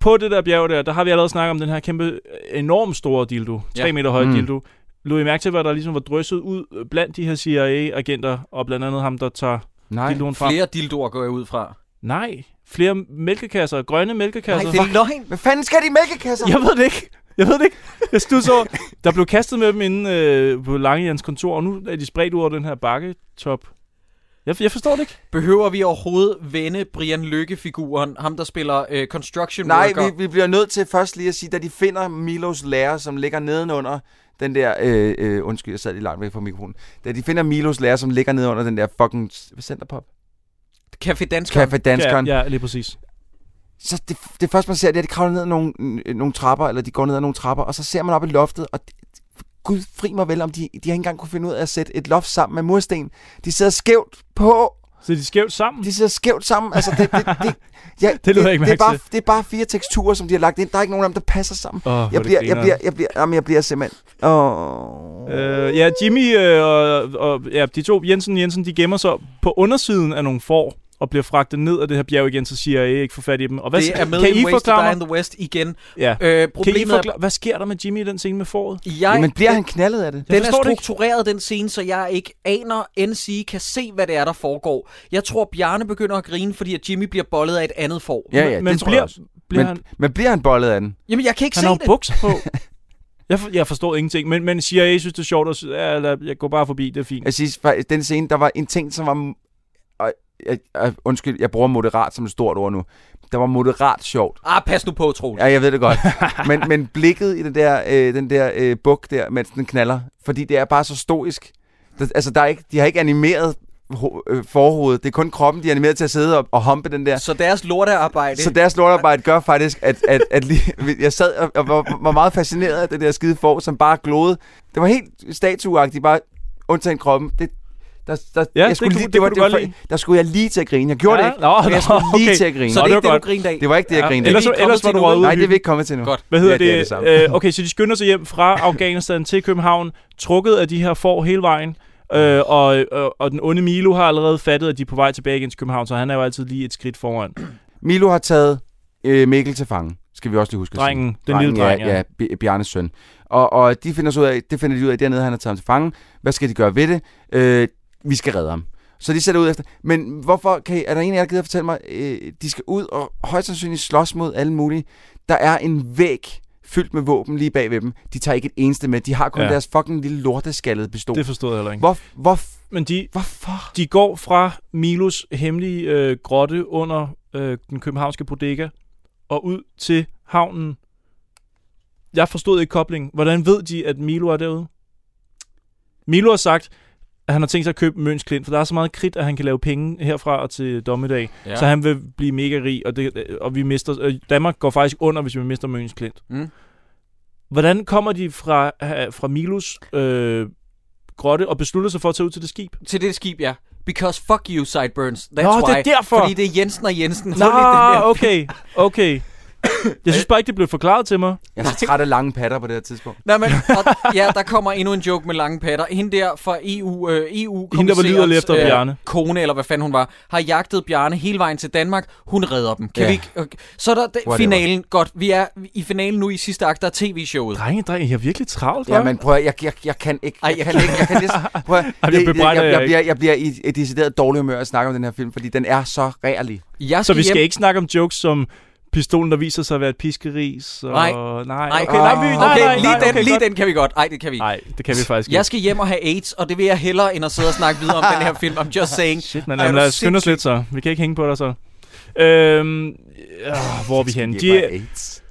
På det der bjerg der, der har vi allerede snakket om den her kæmpe, enormt store dildo. 3 Ja. meter høj Mm. mm. dildo. Lod I mærke til, hvad der ligesom var drysset ud blandt de her CIA-agenter, og blandt andet ham, der tager Nej. dildoen frem? Flere dildoer går jeg ud fra. Nej, flere mælkekasser, grønne mælkekasser. Nej, det er løgn. Hvad fanden skal de mælkekasser? Jeg ved det ikke. Jeg ved det ikke. Jeg stusser over. Der blev kastet med dem inde øh, på Langejans kontor, og nu er de spredt ud over den her bakketop. Jeg, jeg forstår det ikke. Behøver vi overhovedet vende Brian Lykke-figuren, ham der spiller øh, Construction Nej, Worker? vi, vi bliver nødt til først lige at sige, da de finder Milos lærer, som ligger nedenunder den der, øh, øh, undskyld, jeg sad lige langt væk fra mikrofonen. Da de finder Milos lærer, som ligger nedenunder den der fucking s- centerpop. Café Danskeren. Café Danskeren. Ja, ja, lige præcis. Så det, det første, man ser, det er, at de kravler ned ad nogle, øh, nogle trapper, eller de går ned ad nogle trapper, og så ser man op i loftet, og det- Gud fri mig vel, om de, de har ikke engang kunne finde ud af at sætte et loft sammen med mursten. De sidder skævt på. Sidder de skævt sammen? De sidder skævt sammen. Altså, det, det, (laughs) det, ja, Det lød jeg ikke det, er mærke bare, til. det er bare fire teksturer, som de har lagt ind. Der er ikke nogen af dem, der passer sammen. Åh, hvor er jeg, det bliver, jeg, grineren. bliver, jeg, bliver, jamen, jeg bliver simpelthen... Åh. Øh, ja, Jimmy øh, og, og ja, de to, Jensen og Jensen, de gemmer sig på undersiden af nogle får og bliver fragtet ned af det her bjerg igen, så siger jeg ikke får fat i dem. Og hvad, det er med kan Ways I to Die forklare in mig? the West igen. Ja. Øh, kan I problemet er- forklare, hvad sker der med Jimmy i den scene med fåret? Jeg, knaldet af det? Den er struktureret, den scene, så jeg ikke aner end sige, kan se, hvad det er, der foregår. Jeg tror, Bjarne begynder at grine, fordi at Jimmy bliver bollet af et andet får. Ja, ja, det tror jeg også. men, men bliver han bollet af den? Jamen, jeg kan ikke Han se har jo det. bukser på. (laughs) Jeg, for, jeg forstår ingenting, men, men CIA synes, det er sjovt, og sy- ja, lad- jeg går bare forbi, det er fint. Jeg synes faktisk, den scene, der var en ting, som var... Og, jeg, jeg, undskyld, jeg bruger moderat som et stort ord nu. Der var moderat sjovt. Ah, pas nu på, Troels. Ja, jeg ved det godt. men, men blikket i den der, øh, den der øh, buk der, mens den knaller, fordi det er bare så stoisk. Der, altså, der er ikke, de har ikke animeret ho- øh, forhovedet. Det er kun kroppen, de er animeret til at sidde og, og humpe den der. Så deres lortearbejde... Så deres lortarbejde gør faktisk, at, at, at lige, (laughs) jeg sad og, og var, var meget fascineret af det der skide for, som bare glodede. Det var helt statuagtigt, bare undtagen kroppen. Det, der, der, Ja, det jeg skulle kunne- lige, det var, kunne du godt var, lide. der skulle jeg lige til at grine. Jeg gjorde Ja, det ikke, nå, men jeg nå, skulle lige okay. til at grine. Så det er Nå, det ikke var det, du godt. grinede af? Det var ikke det, jeg Ja, grinede ellers- af. ellers var du røget ud i Nej, det er hylden. vi ikke kommet til nu. Godt. Hvad hedder Ja, det? det er det samme. det øh, okay, så de skynder sig hjem (laughs) fra Afghanistan til København, trukket af de her får hele vejen. Øh, og, og, og den onde Milo har allerede fattet, at de er på vej tilbage igen til København, så han er jo altid lige et skridt foran. Milo har taget øh, Mikkel til fange. Skal vi også lige huske Drengen. at sige. Den lille dreng, ja. ja. ja Bi- Bjarnes søn. Og, og de finder så ud af, det finder de ud af dernede, han har taget ham til fange. Hvad skal de gøre ved det? Øh, vi skal redde ham. Så de sætter ud efter. Men hvorfor kan I, er der en af jer, der gider fortælle mig, øh, de skal ud og højst sandsynligt slås mod alle mulige. Der er en væg fyldt med våben lige bag ved dem. De tager ikke et eneste med. De har kun ja. Ja. deres fucking lille lorteskaldede pistol. Det forstod jeg heller ikke. Hvor, hvor, Men de, Hvorfor? de går fra Milos hemmelige øh, grotte under øh, den københavnske bodega og ud til havnen. Jeg forstod ikke koblingen. Hvordan ved de, at Milo er derude? Milo har sagt, at han har tænkt sig at købe Møns Klint, for der er så meget kridt, at han kan lave penge herfra og til dommedag. Ja. Ja. Så han vil blive øh, mega rig, og, det, og vi mister, øh, Danmark går faktisk under, hvis vi mister Møns Klint. Mm. Hvordan kommer de fra, ha- fra Milos øh, grotte og beslutter sig for at tage ud til det skib? Til det skib, ja. Because fuck you, Sideburns. That's Nå, why. det er derfor. Fordi det er Jensen og Jensen. Nå, okay, okay. Jeg synes bare ikke, det blev forklaret til mig. Jeg er så træt af lange patter på det her tidspunkt. Nej, (laughs) men, og, ja, der kommer endnu en joke med lange patter. Hende der fra EU, øh, EU Hende, der var liderlig efter Bjarne. øh, kone, eller hvad fanden hun var, har jagtet Bjarne hele vejen til Danmark. Hun redder dem. Kan Ja. vi ikke, okay. Så er der d- Whatever. finalen. Godt, vi er i finalen nu i sidste akt af tv-showet. Drenge, drenge, jeg er virkelig travlt, Ja, men prøv at, jeg, jeg, jeg kan ikke. Ej, Jeg kan ikke. Jeg kan næsten, prøv (laughs) at, jeg det- det- bebrejder jeg, jer jeg, ikke. bliver, jeg bliver i et decideret dårlig humør at snakke om den her film, fordi den er så rærlig. Jeg Så vi skal ikke snakke om jokes som pistolen, der viser sig at være et piskeris. Og... Nej. Ah. nej, okay, nej, vi- nej, nej, okay, nej, lige, den, okay, lige godt. den kan vi godt. Nej, det kan vi ikke. Nej, det kan vi faktisk ikke. Jeg skal hjem og have AIDS, og det vil jeg hellere, end at sidde og snakke videre (laughs) om den her film. I'm just saying. Shit, man, Er jamen, du lad os skynde os lidt så. Vi kan ikke hænge på dig så. Øhm, øh, hvor er vi henne? Giv mig De, AIDS.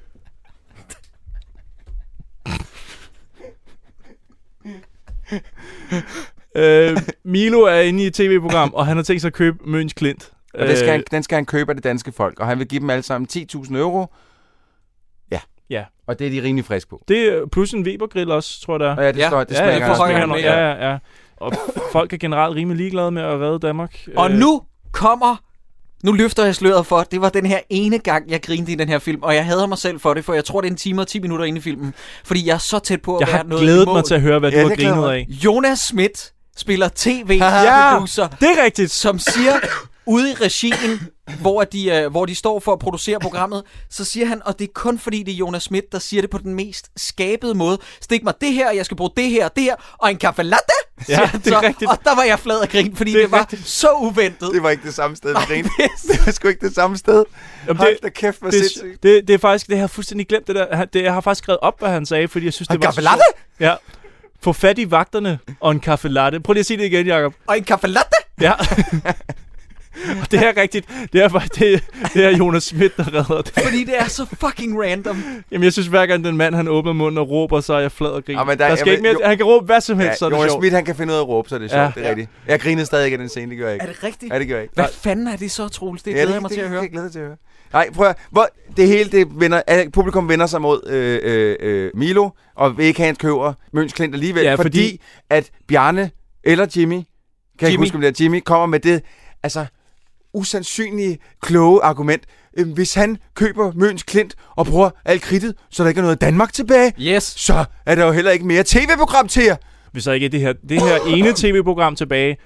øh, Milo er inde i et tv-program, og han har tænkt sig at købe Møns Klint. Øh, Og den skal, han, den skal han købe af det danske folk, og han vil give dem alle sammen 10.000 euro. Ja. Ja. Og det er de rimelig friske på. Det er plus en Webergrill også, tror jeg, der er. Ja, det står- det smager det også. forhøjer han Det også. smager ja, ja, ja. Og folk er generelt rimelig ligeglade med at redde Danmark. Og Øh, nu kommer... Nu løfter jeg sløret for, at det var den her ene gang, jeg grinede i den her film, og jeg hader mig selv for det, for jeg tror, det er en time og 10 minutter inde i filmen, fordi jeg er så tæt på at Jeg være har noget glædet i mål. mig til at høre, hvad du Ja, har det glæder grinet mig. af. Jonas Schmidt spiller Ja, tv-producer, det er rigtigt. som siger ude i regien, hvor de, øh, hvor de står for at producere programmet, så siger han, og det er kun fordi, det er Jonas Schmidt, der siger det på den mest skabede måde. Stik mig det her, jeg skal bruge det her og det her, og en kaffe latte, siger han det er så. rigtigt. Og der var jeg flad og grin, fordi det, det var rigtigt. så uventet. Det var ikke det samme sted, vi grinte. Det var sgu ikke det samme sted. Jamen, Hold da kæft, hvor det, sindssygt. Det, det, er faktisk, det har jeg fuldstændig glemt, det der. Han- Det, jeg har faktisk skrevet op, hvad han sagde, fordi jeg synes, det var så kaffelatte? sjovt. Ja. Få fat i vagterne og en kaffe latte. Prøv lige at sige det igen, Jacob. Og en kaffe latte? Ja. (laughs) Og det er rigtigt. Det er, faktisk- det, det er Jonas Schmidt, der redder det. Fordi det er så fucking random. Jamen, jeg synes, hver gang den mand, han åbner munden og råber, så er jeg flad og griner. Ja, Ja, men der, der skal ikke mere, jo- han kan råbe hvad som helst, ja, (laughs) så er det Jonas sjovt. Schmidt, han kan finde ud af at råbe, så er det sjovt. Ja. Ja. Det er rigtigt. Jeg griner stadig ikke af den scene, det gør jeg ikke. Er det rigtigt? Ja, det gør jeg ikke. Hvad fanden er det så, Troels? Det Ja, glæder det- jeg mig det- til at høre. det glæder til at høre. Nej, prøv at, hvor, det hele, det vender, al- publikum vender sig mod øh, øh, øh, Milo, og vil ikke have, han køber Møns Klint alligevel, Ja, ja, fordi- fordi, fordi at Bjarne eller Jimmy, kan jeg ikke Jimmy. huske, om det er Jimmy, kommer med det, altså usandsynlige, kloge argument. Øh, Hvis han køber Møns Klint og bruger alt kridtet, så der ikke er noget Danmark tilbage, yes. så er der jo heller ikke mere tv-program til jer. Hvis der ikke er det her, det her (laughs) ene tv-program tilbage,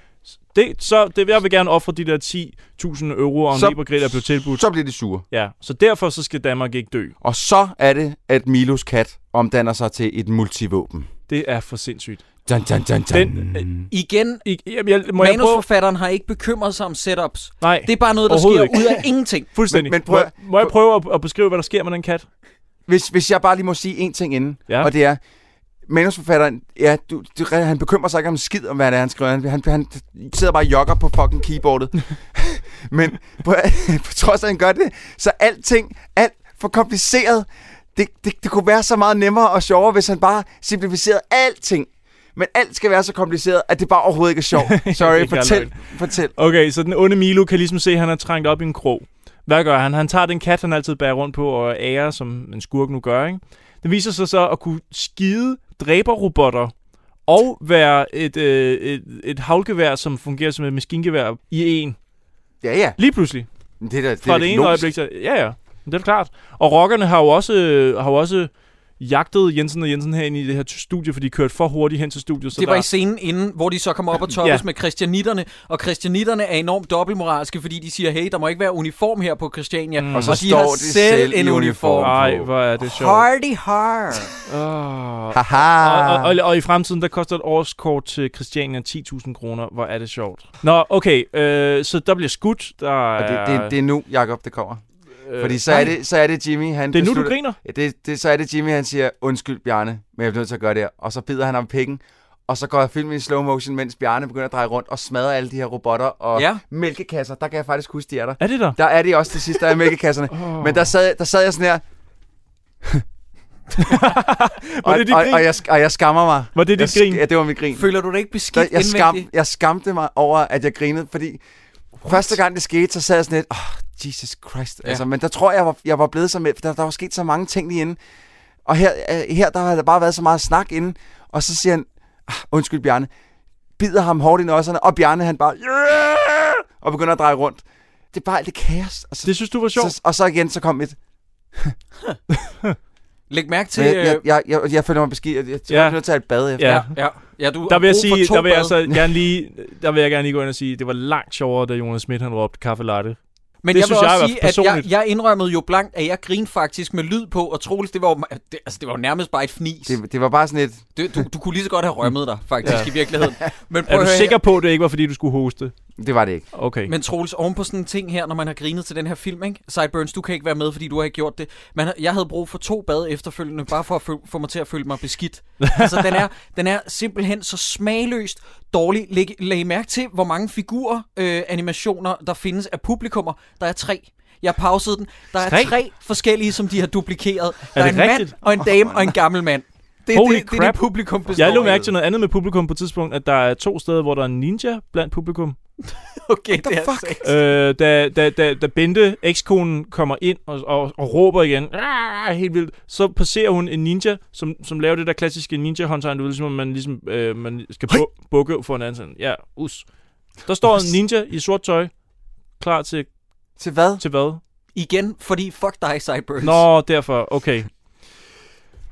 det, så det, jeg vil gerne ofre de der 10.000 euro om Så- Webergrill, der blev tilbudt. Så bliver de sure. Ja, så derfor så skal Danmark ikke dø. Og så er det, at Milos kat omdanner sig til et multivåben. Det er for sindssygt. Dun, dun, dun, dun. Den, øh, Igen, I, jamen, jeg, må jeg prøve? manusforfatteren har ikke bekymret sig om setups. Nej, Det er bare noget, der sker overhovedet ikke. ud af (laughs) ingenting. Men- Fuldstændig. men prøv- må, må jeg prøve at, at beskrive, hvad der sker med den kat? Hvis, hvis jeg bare lige må sige en ting inden, Ja. og det er, manusforfatteren, ja, du, du, han bekymrer sig ikke om en skid om, hvad det er, han skriver. Han, han, han sidder bare og jogger på fucking keyboardet. (laughs) Men på, (laughs) på trods af, at han gør det, så alting, alt for kompliceret. Det, det, det kunne være så meget nemmere og sjovere, hvis han bare simplificerede alting. Men alt skal være så kompliceret, at det bare overhovedet ikke er sjovt. (laughs) Det er Sorry, ikke fortæl, løgn. fortæl. Okay, så den onde Milo kan ligesom se, at han er trængt op i en krog. Hvad gør han? Han tager den kat, han altid bærer rundt på og ærer, som en skurk nu gør, ikke? Den viser sig så at kunne skide dræberrobotter og være et, øh, et, et havlgevær, som fungerer som et maskingevær i en. Ja, ja. Lige pludselig. Det er da, det er Fra da det, ene logisk. øjeblik til... Ja, ja. Det er da klart. Og rockerne har jo også, øh, har jo også jagtet Jensen og Jensen herinde i det her t- studie, for de kørte for hurtigt hen til studiet. Så Det var der... i scenen inden, hvor de så kommer op og toppes Ja. ja. med kristianitterne, og kristianitterne er enormt dobbeltmoralske, fordi de siger, hey, der må ikke være uniform her på Christiania, mm. Og så de står har de selv i uniform på. Ej, hvor er det sjovt. Hardy har. Oh. Haha. Og, og, og, og i fremtiden, der koster et årskort til Christiania 10.000 kroner. Hvor er det sjovt. Nå, okay. Øh, så der bliver skudt. Der Og det, det, det er nu, Jakob, det kommer. Øh, Øh, Fordi så er, nej. det, så er det Jimmy, han Det er nu, du beslutter- griner? Ja, det, det, så er det Jimmy, han siger, undskyld Bjarne, men jeg bliver nødt til at gøre det her. Og så bider han om pikken, og så går jeg filmen i slow motion, mens Bjarne begynder at dreje rundt og smadre alle de her robotter og Ja. ja. mælkekasser. Der kan jeg faktisk huske, de er der. Er det der? Der er de også til sidst, der er mælkekasserne. (laughs) Åh. oh. Men der sad, der sad jeg sådan her, Var og, det dit og, grin? og, jeg, sk- og jeg skammer mig. Var det dit jeg, sk- grin? Ja, det var mit grin. Føler du dig ikke Der, beskidt jeg, skam, indvendigt? jeg skamte mig over, at jeg grinede, fordi What? første gang det skete, så sad jeg sådan lidt, oh, Jesus Christ. Ja. Ja. Altså, men der tror jeg, jeg var, jeg var blevet så med, for der, der var sket så mange ting lige inden. Og her, øh, her der har der bare været så meget snak inden, og så siger han, "Ah, undskyld Bjarne, bider ham hårdt i nødserne, og Bjarne han bare, yeah! og begynder at dreje rundt. Det er bare alt det kaos. Og så, det synes du var sjovt? Så, og så igen, så kom et, Læg mærke til... øh, jeg, jeg, jeg, jeg, jeg føler mig beskidt, jeg, jeg, jeg er nødt til at have et bad efter. Ja. ja. ja du der vil har jeg brug for sige, to der vil jeg bade. altså gerne lige, der vil jeg gerne lige gå ind og sige, det var langt sjovere, da Jonas Schmidt han råbte kaffe latte. Men det jeg synes vil jeg også i sige, hvert at fald jeg, personligt. jeg indrømmede jo blankt, at jeg grinede faktisk med lyd på, og troligt, det var jo, det, altså, det var jo nærmest bare et fnis. Det, det var bare sådan et... Det, du, du kunne lige så godt have rømmet dig, faktisk, Ja. ja. i (laughs) virkeligheden. Men Er prøv du at høre sikker på, at det ikke var, fordi du skulle hoste? Det var det ikke. Okay. her. Men Troels, oven på sådan en ting her, når man har grinet til den her film, ikke? Sideburns, du kan ikke være med, fordi du har ikke gjort det. Men jeg havde brug for to bade efterfølgende, bare for at føl- få mig til at føle mig (laughs) beskidt. altså, den er, den er simpelthen så smagløst dårlig. Læg, læg mærke til, hvor mange figurer, øh, animationer, der findes af publikummer. Der er tre. Jeg pausede den. Der er Tre? tre, tre forskellige, som de har duplikeret. der Er er det en mand, rigtigt? og en dame, og en gammel mand. Det er Holy det, det, er crap. det, publikum består Jeg lå af. mærke til noget andet med publikum på et tidspunkt, at der er to steder, hvor der er en ninja blandt publikum. (laughs) Okay, det er altså ikke- Øh, da, da, da, da Bente, ekskonen, kommer ind og, og, og råber igen, "Ah!" helt vildt, så passerer hun en ninja, som, som laver det der klassiske ninja-håndtegn, du ved, ligesom om man, ligesom, øh, man skal bu- bukke for en anden. Sådan. Ja, us. Der står en ninja i sort tøj, klar til... Til hvad? Til hvad? altså- Igen, fordi fuck dig, Cyburns. Nå, derfor. Okay.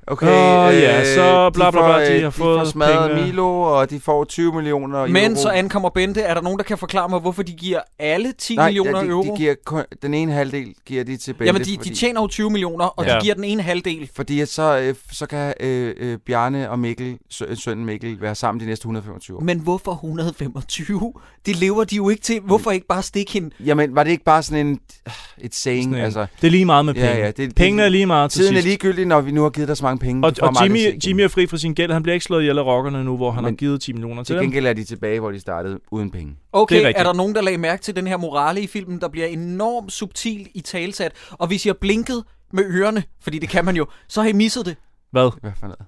Okay, øh, Åh, ja, så de bla, bla, får, bla, de øh, har fået de får smadret pengene. Milo, og de får 20 millioner Men euro. så ankommer Bente. Er der nogen, der kan forklare mig, hvorfor de giver alle 10 Nej, millioner ja, de, euro? De giver kun, den ene halvdel giver de til Bente. Jamen, de, fordi, de tjener jo 20 millioner, og Ja. de giver den ene halvdel. Fordi at så, øh, så kan øh, øh, Bjarne og Mikkel, sø, øh, sønnen Mikkel, være sammen de næste 125 år. Men hvorfor 125? Det lever de jo ikke til. Hvorfor ikke bare stikke hende? Jamen, var det ikke bare sådan en, øh, et saying? Sådan en, altså, det er lige meget med penge. Ja, ja, Pengene er lige meget til Tiden er sidst. ligegyldig, når vi nu har givet dig så mange penge. Og, Du får og dem aldrig Jimmy, set igen. Jimmy er fri fra sin gæld. Han bliver ikke slået ihjel af rockerne nu, hvor han Men har givet 10 millioner til Til dem. gengæld er de tilbage, hvor de startede, uden penge. Okay, Det er er, rigtigt. der nogen, der lagde mærke til den her morale i filmen, der bliver enormt subtil i talsat? Og hvis I har blinket med ørerne, fordi det kan man jo, så har I misset det. Hvad? Hvad for noget?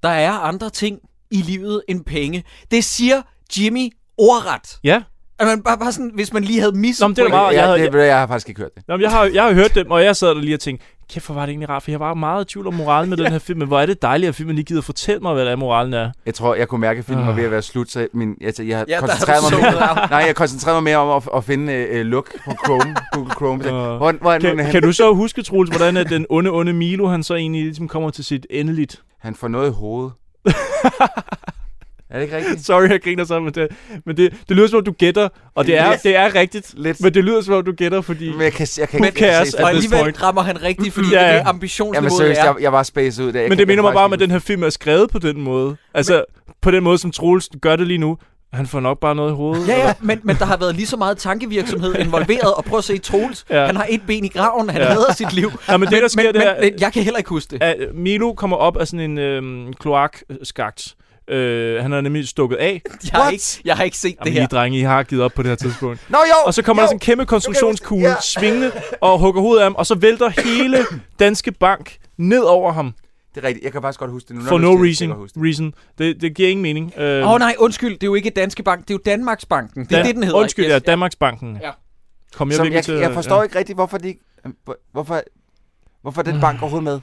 Hvad? Der er andre ting i livet end penge. Det siger Jimmy ordret. Ja. At man bare, bare sådan, hvis man lige havde misset Nå, men det er da pointen. meget- jeg havde- Det, jeg har faktisk ikke hørt det. Nå, men jeg, har, jeg har hørt dem, og jeg sad der lige og tænkte, kæft, hvor var det egentlig rart, for jeg var meget i tvivl om moralen med den her film, men hvor er det dejligt, at filmen lige gider fortælle mig, hvad der er, moralen er. Jeg tror, jeg kunne mærke, at filmen var Ah. ved at være slut, så min, altså, jeg der ja, er koncentrerede du mig sunket mere, nej, jeg koncentrerede mig mere om at, at finde øh, look på Chrome, Google Chrome. Og- Hvor, hvor er den, kan, han, kan, du så huske, Troels, hvordan at den onde, onde Milo, han så egentlig ligesom kommer til sit endeligt? Han får noget i hovedet. er det ikke rigtigt? Sorry, jeg griner sammen med det. Men det, det lyder som om, du gætter, og det er, Lidt. det er rigtigt. Lidt. Men det lyder som om, du gætter, fordi... Men jeg kan, jeg kan, Who jeg kan se cares filmen. Og at this alligevel point? rammer han rigtigt, fordi Ja, ja, ja. det ja. er det ambitionsniveauet Jamen seriøst, jeg, jeg var spacet ud der. Jeg Men kan- det minder jeg mig kan bare om, faktisk at den her film er skrevet på den måde. Altså, på den måde, som Troels gør det lige nu. Han får nok bare noget i hovedet. Ja, ja, men, men der har været lige så meget tankevirksomhed involveret, og prøv at se Troels, Ja. ja. han har et ben i graven, han Ja. ja. hader sit liv. Ja, men det, der sker, men, det er- men, men, jeg kan heller ikke huske det. at øh, Milo kommer op af sådan en øhm, kloakskagt. Øh, han er nemlig stukket af. Jeg har, ikke, jeg har ikke set Jamen, det her. I her. drenge, I har givet op på det her (laughs) tidspunkt. Nå, jo, og så kommer jo, der sådan en kæmpe konstruktionskugle ja. svingende og hugger hovedet af ham, og så vælter hele Danske Bank ned over ham. Det er rigtigt, jeg kan faktisk godt huske det nu. For når no du siger det, kan jeg reason. godt huske reason. Det, det giver ingen mening. Åh øh, Åh oh, nej, undskyld, det er jo ikke Danske Bank, det er jo Danmarks Banken. Det er det, den hedder. Undskyld, ikke? ja, Danmarksbanken. Ja. Kom det. jeg Som virkelig jeg, til jeg, at- jeg forstår ikke rigtigt, hvorfor de ikke- Hvorfor, hvorfor Ah. den bank overhovedet med?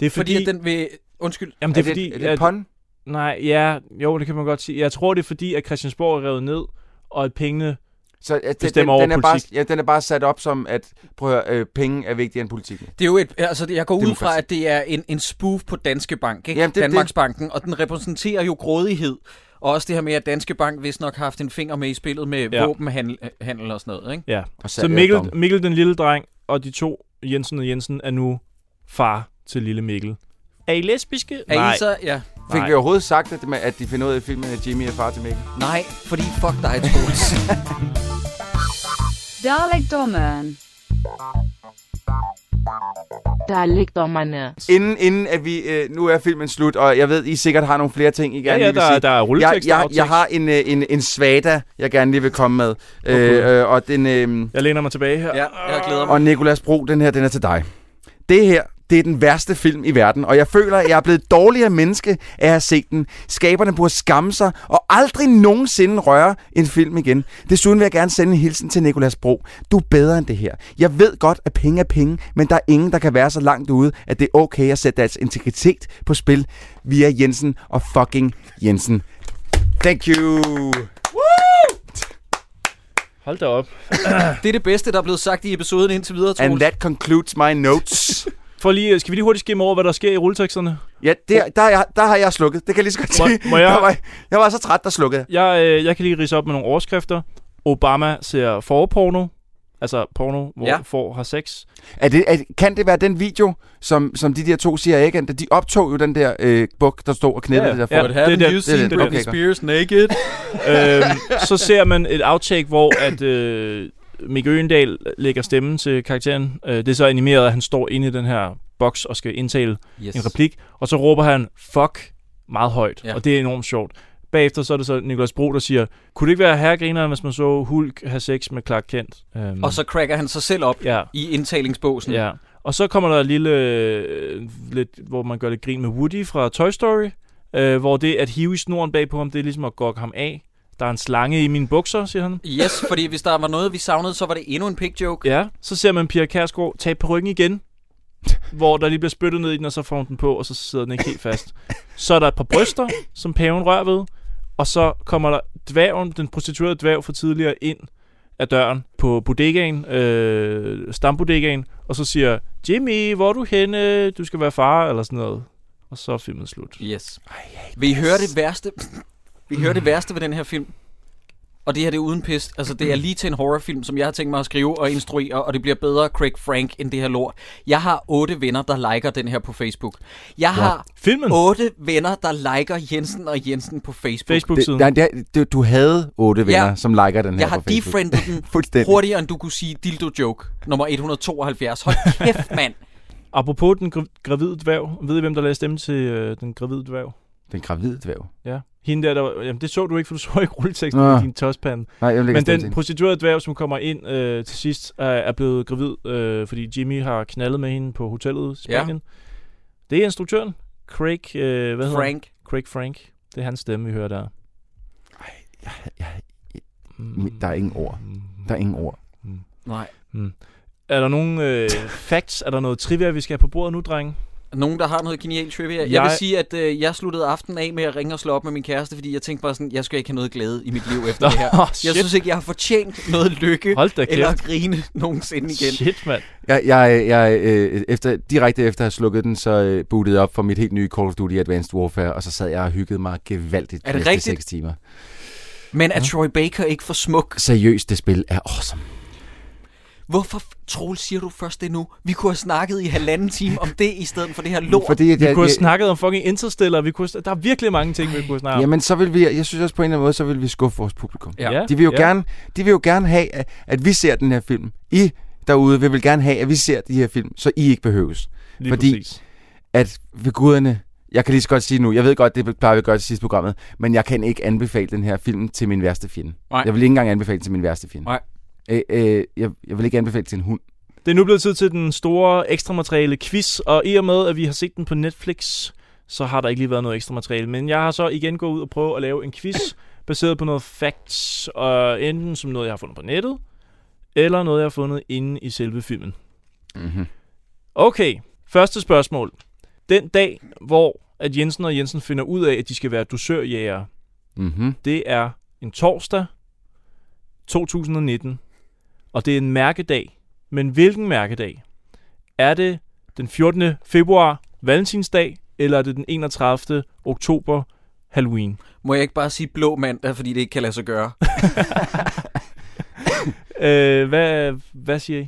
Det Fordi, er fordi... at den vil... Undskyld. Jamen, det er, Er det- fordi... er det et pun? Nej, ja, jo, det kan man godt sige. Jeg tror, det er fordi, at Christiansborg er revet ned, og at pengene Så at den, den, bestemmer over den, er bare, politik. ja, den er bare sat op som, at prøv at høre, øh, penge er vigtigere end politikken. Det er jo et, altså det- jeg går ud Demokrati. fra, at det er en, en spoof på Danske Bank, ikke? Jamen, det- det- Danmarksbanken, og den repræsenterer jo grådighed. Og også det her med, at Danske Bank vist nok har haft en finger med i spillet med Ja. ja. våbenhandel handel og sådan noget, ikke? Ja. Og Så salg af Mikkel, domme. Mikkel, den lille dreng, og de to, Jensen og Jensen, er nu far til lille Mikkel. Er I lesbiske? Er I så- ja. Fik Nej. vi overhovedet sagt, at, det- at de finder ud af i filmen, at Jimmy er far til Mikkel? Nej, fordi fuck dig, (laughs) Troels. Dalekdommen. Dalekdommerne. Inden, inden at vi, øh, nu er filmen slut, og jeg ved, I sikkert har nogle flere ting, I gerne Ja, ja, lige vil der- sige. der er rulletekst jeg, og jeg, aftekst. jeg har en, øh, en, en svada, jeg gerne lige vil komme med. Okay. Øh, øh, og den, øh, Jeg læner mig tilbage her. Ja, jeg glæder mig. og Nikolas Bro, den her, den er til dig. Det her, det er den værste film i verden, og jeg føler, at jeg er blevet dårligere menneske af at have set den. Skaberne burde skamme sig og aldrig nogensinde røre en film igen. Desuden vil jeg gerne sende en hilsen til Nikolas Bro. Du er bedre end det her. Jeg ved godt, at penge er penge, men der er ingen, der kan være så langt ude, at det er okay at sætte deres integritet på spil via Jensen og fucking Jensen. Thank you. Hold da op. det er det bedste, der er blevet sagt i episoden indtil videre, And that concludes my notes. For lige, skal vi lige hurtigt skimme over, hvad der sker i rulleteksterne? Ja, der, der, er jeg, der har jeg slukket. Det kan jeg lige så godt Må- sige. må jeg- Der var, jeg var så træt, der slukkede. Jeg, øh, jeg kan lige rise op med nogle overskrifter. Obama ser forporno, altså porno, hvor Ja. ja. får har sex. Er det, er, kan det være den video, som, som de der to siger ikke? at De optog jo den der øh, buk, der stod og knæppede det der for. okay, godt. naked? øhm, så ser man et outtake, hvor at øh, Mikke Øgendal lægger stemmen til karakteren. Øh, det er så animeret, at han står inde i den her boks og skal indtale Yes. yes. en replik. Og så råber han, fuck, meget højt. Ja. Ja. Og det er enormt sjovt. Bagefter så er det så Nikolas Bro, der siger, kunne det ikke være herregrineren, hvis man så Hulk have sex med Clark Kent? Øhm, Og så cracker han sig selv op ja. i indtalingsbåsen. Ja. Og så kommer der et lille, øh, lidt, hvor man gør lidt grin med Woody fra Toy Story, øh, hvor det at hive i snoren bag på ham, det er ligesom at gokke ham af. Der er en slange i mine bukser, siger han. Yes, fordi hvis der var noget, vi savnede, så var det endnu en pig joke. Ja, så ser man Pia Kærsgaard tage på ryggen igen, hvor der lige bliver spyttet ned i den, og så får hun den på, og så sidder den ikke helt fast. Så er der et par bryster, som paven rører ved, og så kommer der dværgen, den prostituerede dværg fra tidligere ind af døren på bodegaen, øh, stambodegaen, og så siger, Jimmy, hvor er du henne? Du skal være far, eller sådan noget. Og så er filmen slut. Yes. Vil I høre det værste? Vi hører det værste ved den her film. Og det her det er uden pis. Altså, det er lige til en horrorfilm, som jeg har tænkt mig at skrive og instruere, og det bliver bedre Craig Frank end det her lort. Jeg har otte venner, der liker den her på Facebook. Jeg What? har Filmen? otte venner, der liker Jensen og Jensen på Facebook. Det, nej, det, er- det, du havde otte venner, Ja. ja. som liker den her Jeg har på Facebook. (laughs) defriendet den Fuldstændig. hurtigere, end du kunne sige dildo joke. Nummer 172. (laughs) Hold kæft, mand. Apropos den gra- gravide dværg, ved I, hvem der lagde stemme til øh, den gravide dværg? Den gravide dværg. Ja. Hende der, der var- jamen det så du ikke, for du så ikke rulleteksten Nå. i din tospande. Nej, jeg vil ikke Men stemme til den hende. prostituerede dværg, som kommer ind øh, til sidst, er, er blevet gravid, øh, fordi Jimmy har knaldet med hende på hotellet i Ja. Spanien. Ja. Det er instruktøren, Craig, øh, hvad hedder han? Frank. Craig Frank. Det er hans stemme, vi hører der. Der er ingen ord. Der er ingen ord. Nej. Mm. Er der (laughs) nogen øh, facts? Er der noget trivia, vi skal have på bordet nu, drenge? Nogen, der har noget genialt trivia. Jeg, jeg Jeg- vil sige, at øh, jeg sluttede aftenen af med at ringe og slå op med min kæreste, fordi jeg tænkte bare sådan, jeg skal ikke have noget glæde i mit liv efter Nå, (laughs) det her. Jeg shit. synes ikke, jeg har fortjent noget lykke Hold da eller at kæft. grine nogensinde igen. Shit, mand. Jeg, jeg, jeg øh, efter, direkte efter at have slukket den, så øh, bootede jeg op for mit helt nye Call of Duty Advanced Warfare, og så sad jeg og hyggede mig gevaldigt Er de det næste rigtigt? 6 timer. Men er Troy Baker ikke for smuk? Seriøst, det spil er awesome. Hvorfor, Troel, siger du først det nu? Vi kunne have snakket i halvanden time om det, i stedet for det her lort. Fordi at Vi jeg- kunne have jeg- snakket om fucking Interstellar. Vi kunne, have- der er virkelig mange ting, vi kunne have snakket om. Jamen, så vil vi, jeg synes også på en eller anden måde, så vil vi skuffe vores publikum. Ja. Ja, De, vil jo ja. gerne, de vil jo gerne have, at, at vi ser den her film. I derude vil, vil gerne have, at vi ser de her film, så I ikke behøves. Lige Fordi præcis. at ved guderne, jeg kan lige så godt sige nu, jeg ved godt, det plejer vi at gøre til sidste programmet, men jeg kan ikke anbefale den her film til min værste fjende. Nej. Jeg vil ikke engang anbefale den til min værste fjende. Nej. Øh, øh, jeg, jeg vil ikke anbefale den til en hund. Det er nu blevet tid til den store ekstra materiale quiz, og i og med, at vi har set den på Netflix, så har der ikke lige været noget ekstra materiale. Men jeg har så igen gået ud og prøvet at lave en quiz, baseret på noget facts, og enten som noget, jeg har fundet på nettet, eller noget, jeg har fundet inde i selve filmen. Mm-hmm. Okay, første spørgsmål. Den dag, hvor at Jensen og Jensen finder ud af, at de skal være dusørjæger, Mm-hmm. det er en torsdag 2019, og det er en mærkedag. Men hvilken mærkedag? Er det den 14. februar, valentinsdag, eller er det den 31. oktober, Halloween? Må jeg ikke bare sige blå mandag, fordi det ikke kan lade sig gøre? Øh, hvad, hvad siger I?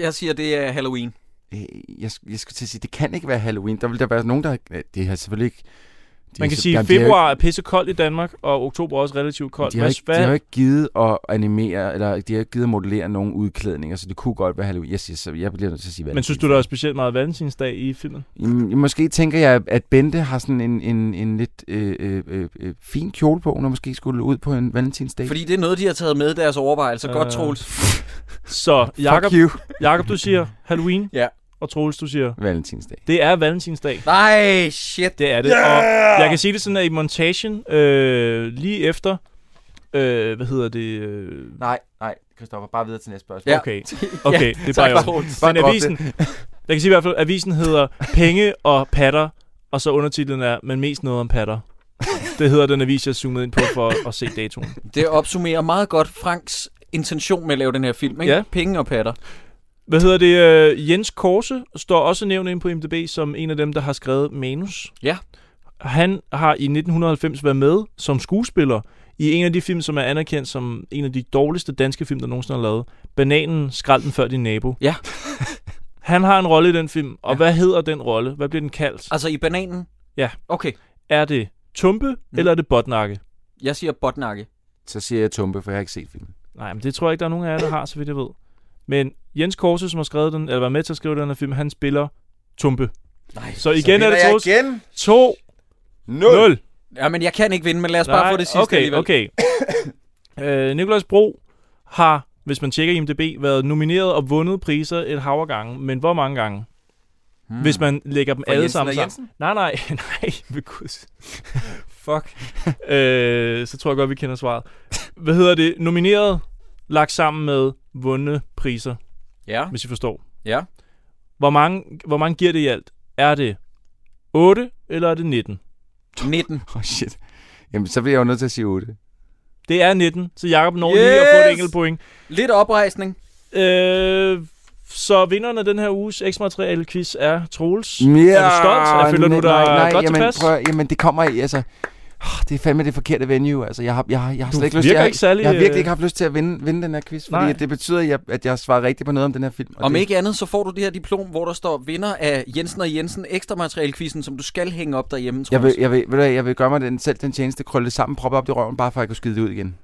Jeg siger, det er Halloween. Øh, Jeg, sk- jeg skulle til at sige, det kan ikke være Halloween. Der vil der være nogen, der... øh, Det har selvfølgelig ikke... De Man har kan se- sige, at Jamen, de har jo februar er pisse koldt i Danmark, og oktober er også relativt koldt. De har, Hvad- ikke, de hvad- har ikke givet at animere, eller de har ikke givet at modellere nogen udklædninger, så det kunne godt være Halloween. Jeg, siger, så jeg bliver nødt til at sige Men synes du, der er specielt meget valentinsdag i filmen? Jamen, Måske tænker jeg, at Bente har sådan en, en, en lidt øh, øh, øh, øh, fin kjole på, når måske skulle ud på en valentinsdag. Fordi det er noget, de har taget med i deres overvejelser. Godt, Øh. Troels. Så Jakob, you. Jakob, du siger Halloween? Ja. Og Troels, du siger... Valentinsdag. Det er Valentinsdag. Nej, shit. Det er det. Yeah! Og jeg kan sige det sådan, at i montagen, øh, lige efter... Øh, hvad hedder det? Øh, Nej, nej, Christoffer, bare videre til næste spørgsmål. Ja. Okay, okay (laughs) Ja. det er bare Tak, jo. Troels. Men Bare drop avisen, det. (laughs) jeg kan sige i hvert fald, avisen hedder Penge og patter, og så undertitlen er, men mest noget om patter. Det hedder den avis, jeg zoomede ind på for at se datoen. Det opsummerer meget godt Franks intention med at lave den her film, ikke? Ja. Penge og patter. Hvad hedder det? Øh, Jens Korse står også nævnt inde på IMDb som en af dem, der har skrevet manus. Ja. Han har i 1990 været med som skuespiller i en af de film, som er anerkendt som en af de dårligste danske film, der nogensinde har lavet. Bananen, skrald den før din nabo. Ja. (laughs) Han har en rolle i den film, og ja. hvad hedder den rolle? Hvad bliver den kaldt? Altså i bananen? Ja. Okay. Er det tumpe, mm. eller er det botnakke? Jeg siger botnakke. Så siger jeg Tumpe, for jeg har ikke set filmen. Nej, men det tror jeg ikke, der er nogen af jer, der har, så vidt jeg ved. Men Jens Korse, som har skrevet den, eller var med til at skrive den her film, han spiller Tumpe. Nej, så igen vinder er det jeg Troels. igen. 2 0. Ja, men jeg kan ikke vinde, men lad os bare få det sidste okay, alligevel. okay. (coughs) øh, Nikolajs Bro har, hvis man tjekker IMDb, været nomineret og vundet priser et hav af gange, men hvor mange gange? Mm. Hmm. Hvis man lægger dem For alle Jensen sammen og sammen. Jensen? Nej, nej, (laughs) nej, ved (laughs) guds. Fuck. øh, så tror jeg godt, vi kender svaret. Hvad hedder det? Nomineret, lagt sammen med vundne priser. Ja. Hvis I forstår. Ja. Hvor mange, hvor mange giver det i alt? Er det 8, eller er det 19? 19. Åh, oh, shit. Jamen, så bliver jeg jo nødt til at sige 8. Det er 19, så Jacob når yes! lige at få et Yes! enkelt point. Lidt oprejsning. Øh, så vinderen af den her uges eksmateriale quiz er Troels. Er du stolt? Jeg føler du dig nej, nej, godt jamen, tilpas? Prøv, at- jamen, det kommer i, altså... Oh, det er fandme det forkerte venue, altså. Jeg har, jeg, har, jeg har Du slet ikke lyst virker til... Jeg, ikke særlig, jeg har virkelig øh, ikke haft lyst til at vinde, vinde den her quiz, fordi Nej. at det betyder, at jeg, at jeg svarer rigtigt på noget om den her film. Om det, ikke andet, så får du det her diplom, hvor der står vinder af Jensen og Jensen ekstra materialquizzen, som du skal hænge op derhjemme, tror Jeg vil, jeg, vil, ved du hvad, jeg vil gøre mig den, selv den tjeneste, krølle det sammen, proppe op i røven, bare for at jeg kunne skide det ud igen.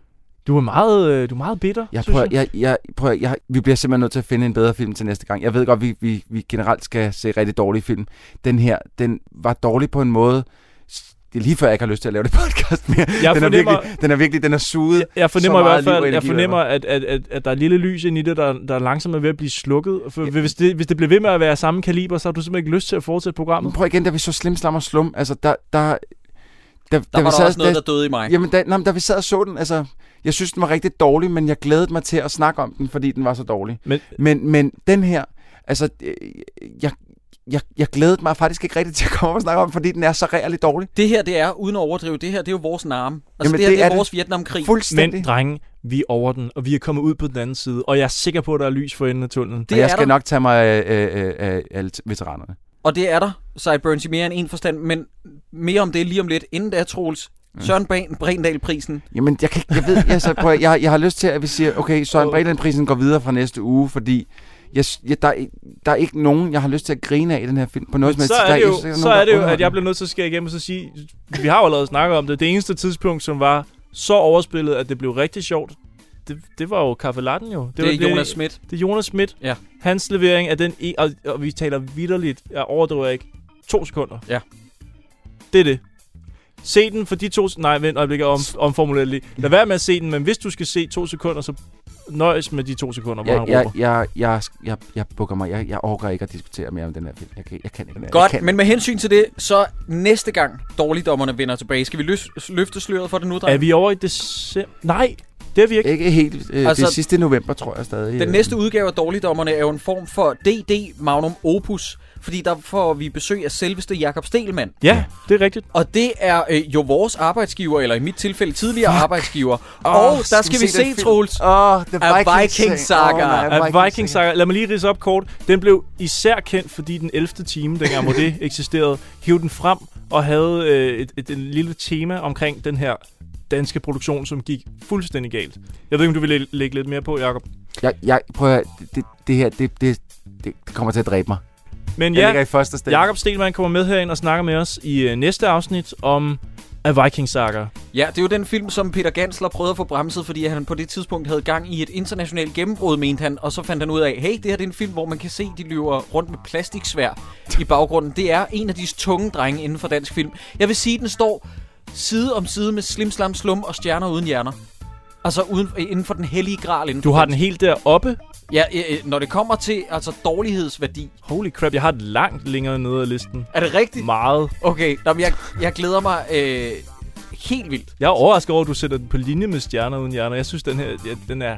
Du er meget, øh, du er meget bitter, Jeg synes prøver, jeg, jeg, prøver, jeg, vi bliver simpelthen nødt til at finde en bedre film til næste gang. Jeg ved godt, vi, vi, vi generelt skal se rigtig dårlige film. Den her, den var dårlig på en måde. s- Det er lige før, jeg ikke har lyst til at lave det (laughs) podcast mere. Jeg den, er fornemmer- virkelig, den er virkelig, den er suget. Jeg, Jeg fornemmer i hvert fald, jeg fornemmer, at, at, at, at der er lille lys ind i det, der, der langsomt er ved at blive slukket. For hvis, det, hvis det bliver ved med at være samme kaliber, så har du simpelthen ikke lyst til at fortsætte programmet. Prøv igen, da vi så Slim Slam og Slum, altså der... der der, der, var der også noget, der døde i mig. Jamen, da, nej, men da vi sad og så den, altså, jeg synes, den var rigtig dårlig, men jeg glædede mig til at snakke om den, fordi den var så dårlig. Men, men, men den her, altså, øh, jeg, jeg, jeg glædede mig faktisk ikke rigtig til at komme op og snakke om den, fordi den er så rærligt dårlig. Det her, det er, uden at overdrive, det her, det er jo vores narme. Altså, Jamen, det her, det det er, er det. vores Vietnamkrig. Men drenge, vi er over den, og vi er kommet ud på den anden side, og jeg er sikker på, at der er lys for enden af tunnelen. Det og jeg skal nok tage mig af øh, øh, øh, alle t- veteranerne. Og det er der, Cyburns i mere end en forstand, men mere om det lige om lidt. Inden da, Troels, Søren Bren- Brendal-prisen. Jamen, jeg, kan, ikke- jeg ved, altså, prøv, at- jeg, jeg har lyst til, at vi siger, okay, Søren Bredland-prisen går videre fra næste uge, fordi jeg, s- jeg, der, er i- der er ikke nogen, jeg har lyst til at grine af i den her film på noget som helst. så Der er det ikke- jo, der så nogen, er det jo der at jeg bliver nødt til at skære igennem og så sige, vi har jo allerede snakket om det. Det eneste tidspunkt, som var så overspillet, at det blev rigtig sjovt, det, det var jo Kaffe Latten jo. Det var er Jonas Schmidt. Det er Jonas Schmidt. Ja. Hans levering af den, e- og, og vi taler vidderligt, jeg overdriver ikke, to sekunder. Ja. Det er det. Se den for de to... Nej, vent øjeblik, jeg om, omformulerer det lige. Lad være med at se den, men hvis du skal se to sekunder, så nøjes med de to sekunder, hvor Jeg, han jeg, råber. jeg, jeg, jeg, jeg bukker mig. Jeg, jeg overgår ikke at diskutere mere om den her film. Jeg kan, jeg kan ikke. jeg Godt, kan. men med hensyn til det, så næste gang dårligdommerne vender tilbage. Skal vi løs- løfte sløret for det nu, drenge? Er vi over i december? Nej, det er vi ikke. Ikke helt. Øh, altså, Altså, det er sidste november, tror jeg stadig. Den øh. næste udgave af Dårligdommerne er jo en form for DD Magnum Opus, fordi der får vi besøg af selveste Jakob Stelmann. Ja, det er rigtigt. Og det er øh, jo vores arbejdsgiver, eller i mit tilfælde tidligere Fuck. arbejdsgiver. Åh, og der skal, skal vi vi se se, den film? Troels, oh, af Viking Saga. af Viking Saga. Lad mig lige rise op kort. Den blev især kendt, fordi den 11. time, dengang hvor (laughs) det eksisterede, hiv den frem og havde øh, et, et, et lille tema omkring den her danske produktion, som gik fuldstændig galt. Jeg ved ikke, om du vil læ- lægge lidt mere på, Jacob. Jeg, jeg, prøv at høre, det- det, det her, det, det, det det kommer til at dræbe mig. Men Jeg ja, ligger i første sted. Jakob Stelman kommer med herind og snakker med os i øh, næste afsnit om af Viking Saga. Ja, det er jo den film, som Peter Gansler prøvede at få bremset, fordi han på det tidspunkt havde gang i et internationalt gennembrud, mente han. Og så fandt han ud af, hey, det her det er en film, hvor man kan se, de løber rundt med plastiksvær i baggrunden. Det er en af de tunge drenge inden for dansk film. Jeg vil sige, den står side om side med Slim Slam Slum og Stjerner Uden Hjerner. Altså uden, inden for den hellige gral inden Du for har den dansk- helt deroppe, Ja, øh, øh, når det kommer til altså dårlighedsværdi. Holy crap, jeg har et langt længere nede af listen. Er det rigtigt? Meget. Okay, nå, men jeg, jeg glæder mig øh, helt vildt. Jeg er overrasket over, at du sætter den på linje med stjerner uden hjerner. Jeg synes, den her, ja, den er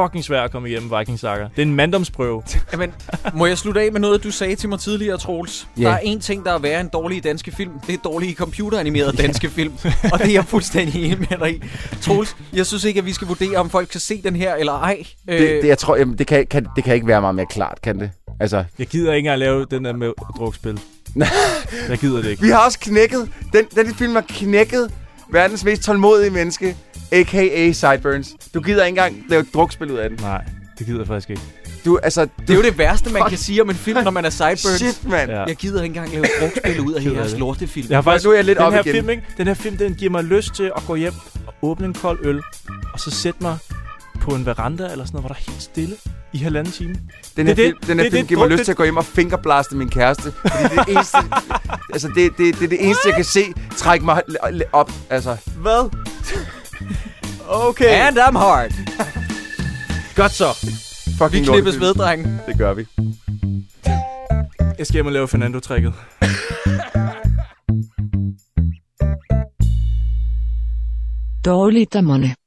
fucking svær at komme igennem Viking Saga. Det er en manddomsprøve. Jamen, må jeg slutte af med noget, du sagde til mig tidligere, Troels? Ja. Der er en ting, der er værre end dårlige danske film. Det er dårlige computeranimerede danske film. Og det er jeg fuldstændig enig med dig i. Troels, jeg synes ikke, at vi skal vurdere, om folk kan se den her eller ej. Øh. Det, det, jeg tror, jamen, det, kan, kan, det kan ikke være meget mere klart, kan det? Altså, Jeg gider ikke engang lave den der med drukspil. jeg gider det ikke. vi har også knækket, den, den film har knækket verdens mest tålmodige menneske, a.k.a. Sideburns. Du gider ikke engang lave et drukspil ud af den. Nej, det gider jeg faktisk ikke. Du, altså, Det er jo det værste, man kan sige om en film, når man er sideburns. Shit, mand. Ja. Jeg gider ikke engang lave brugspil ud af Ked af jeres det. lortefilm. Jeg har faktisk, nu er jeg lidt den op her igen. Film, ikke? Den her film, den giver mig lyst til at gå hjem og åbne en kold øl, og så sætte mig på en veranda eller sådan noget, hvor der er helt stille i halvanden time. Den her, Det er film, det- den her det er film det giver mig druk- lyst til at gå hjem og fingerblaste min kæreste. Fordi det er det (laughs) eneste, altså, det, det, det, er det eneste jeg kan se trække mig l- l- op. Altså, Hvad? Okay. And I'm hard. Godt så. fucking Vi klippes lortefilm. ved, drenge. Det gør vi. Jeg skal hjem og lave Fernando-trækket. Dårlig dommerne.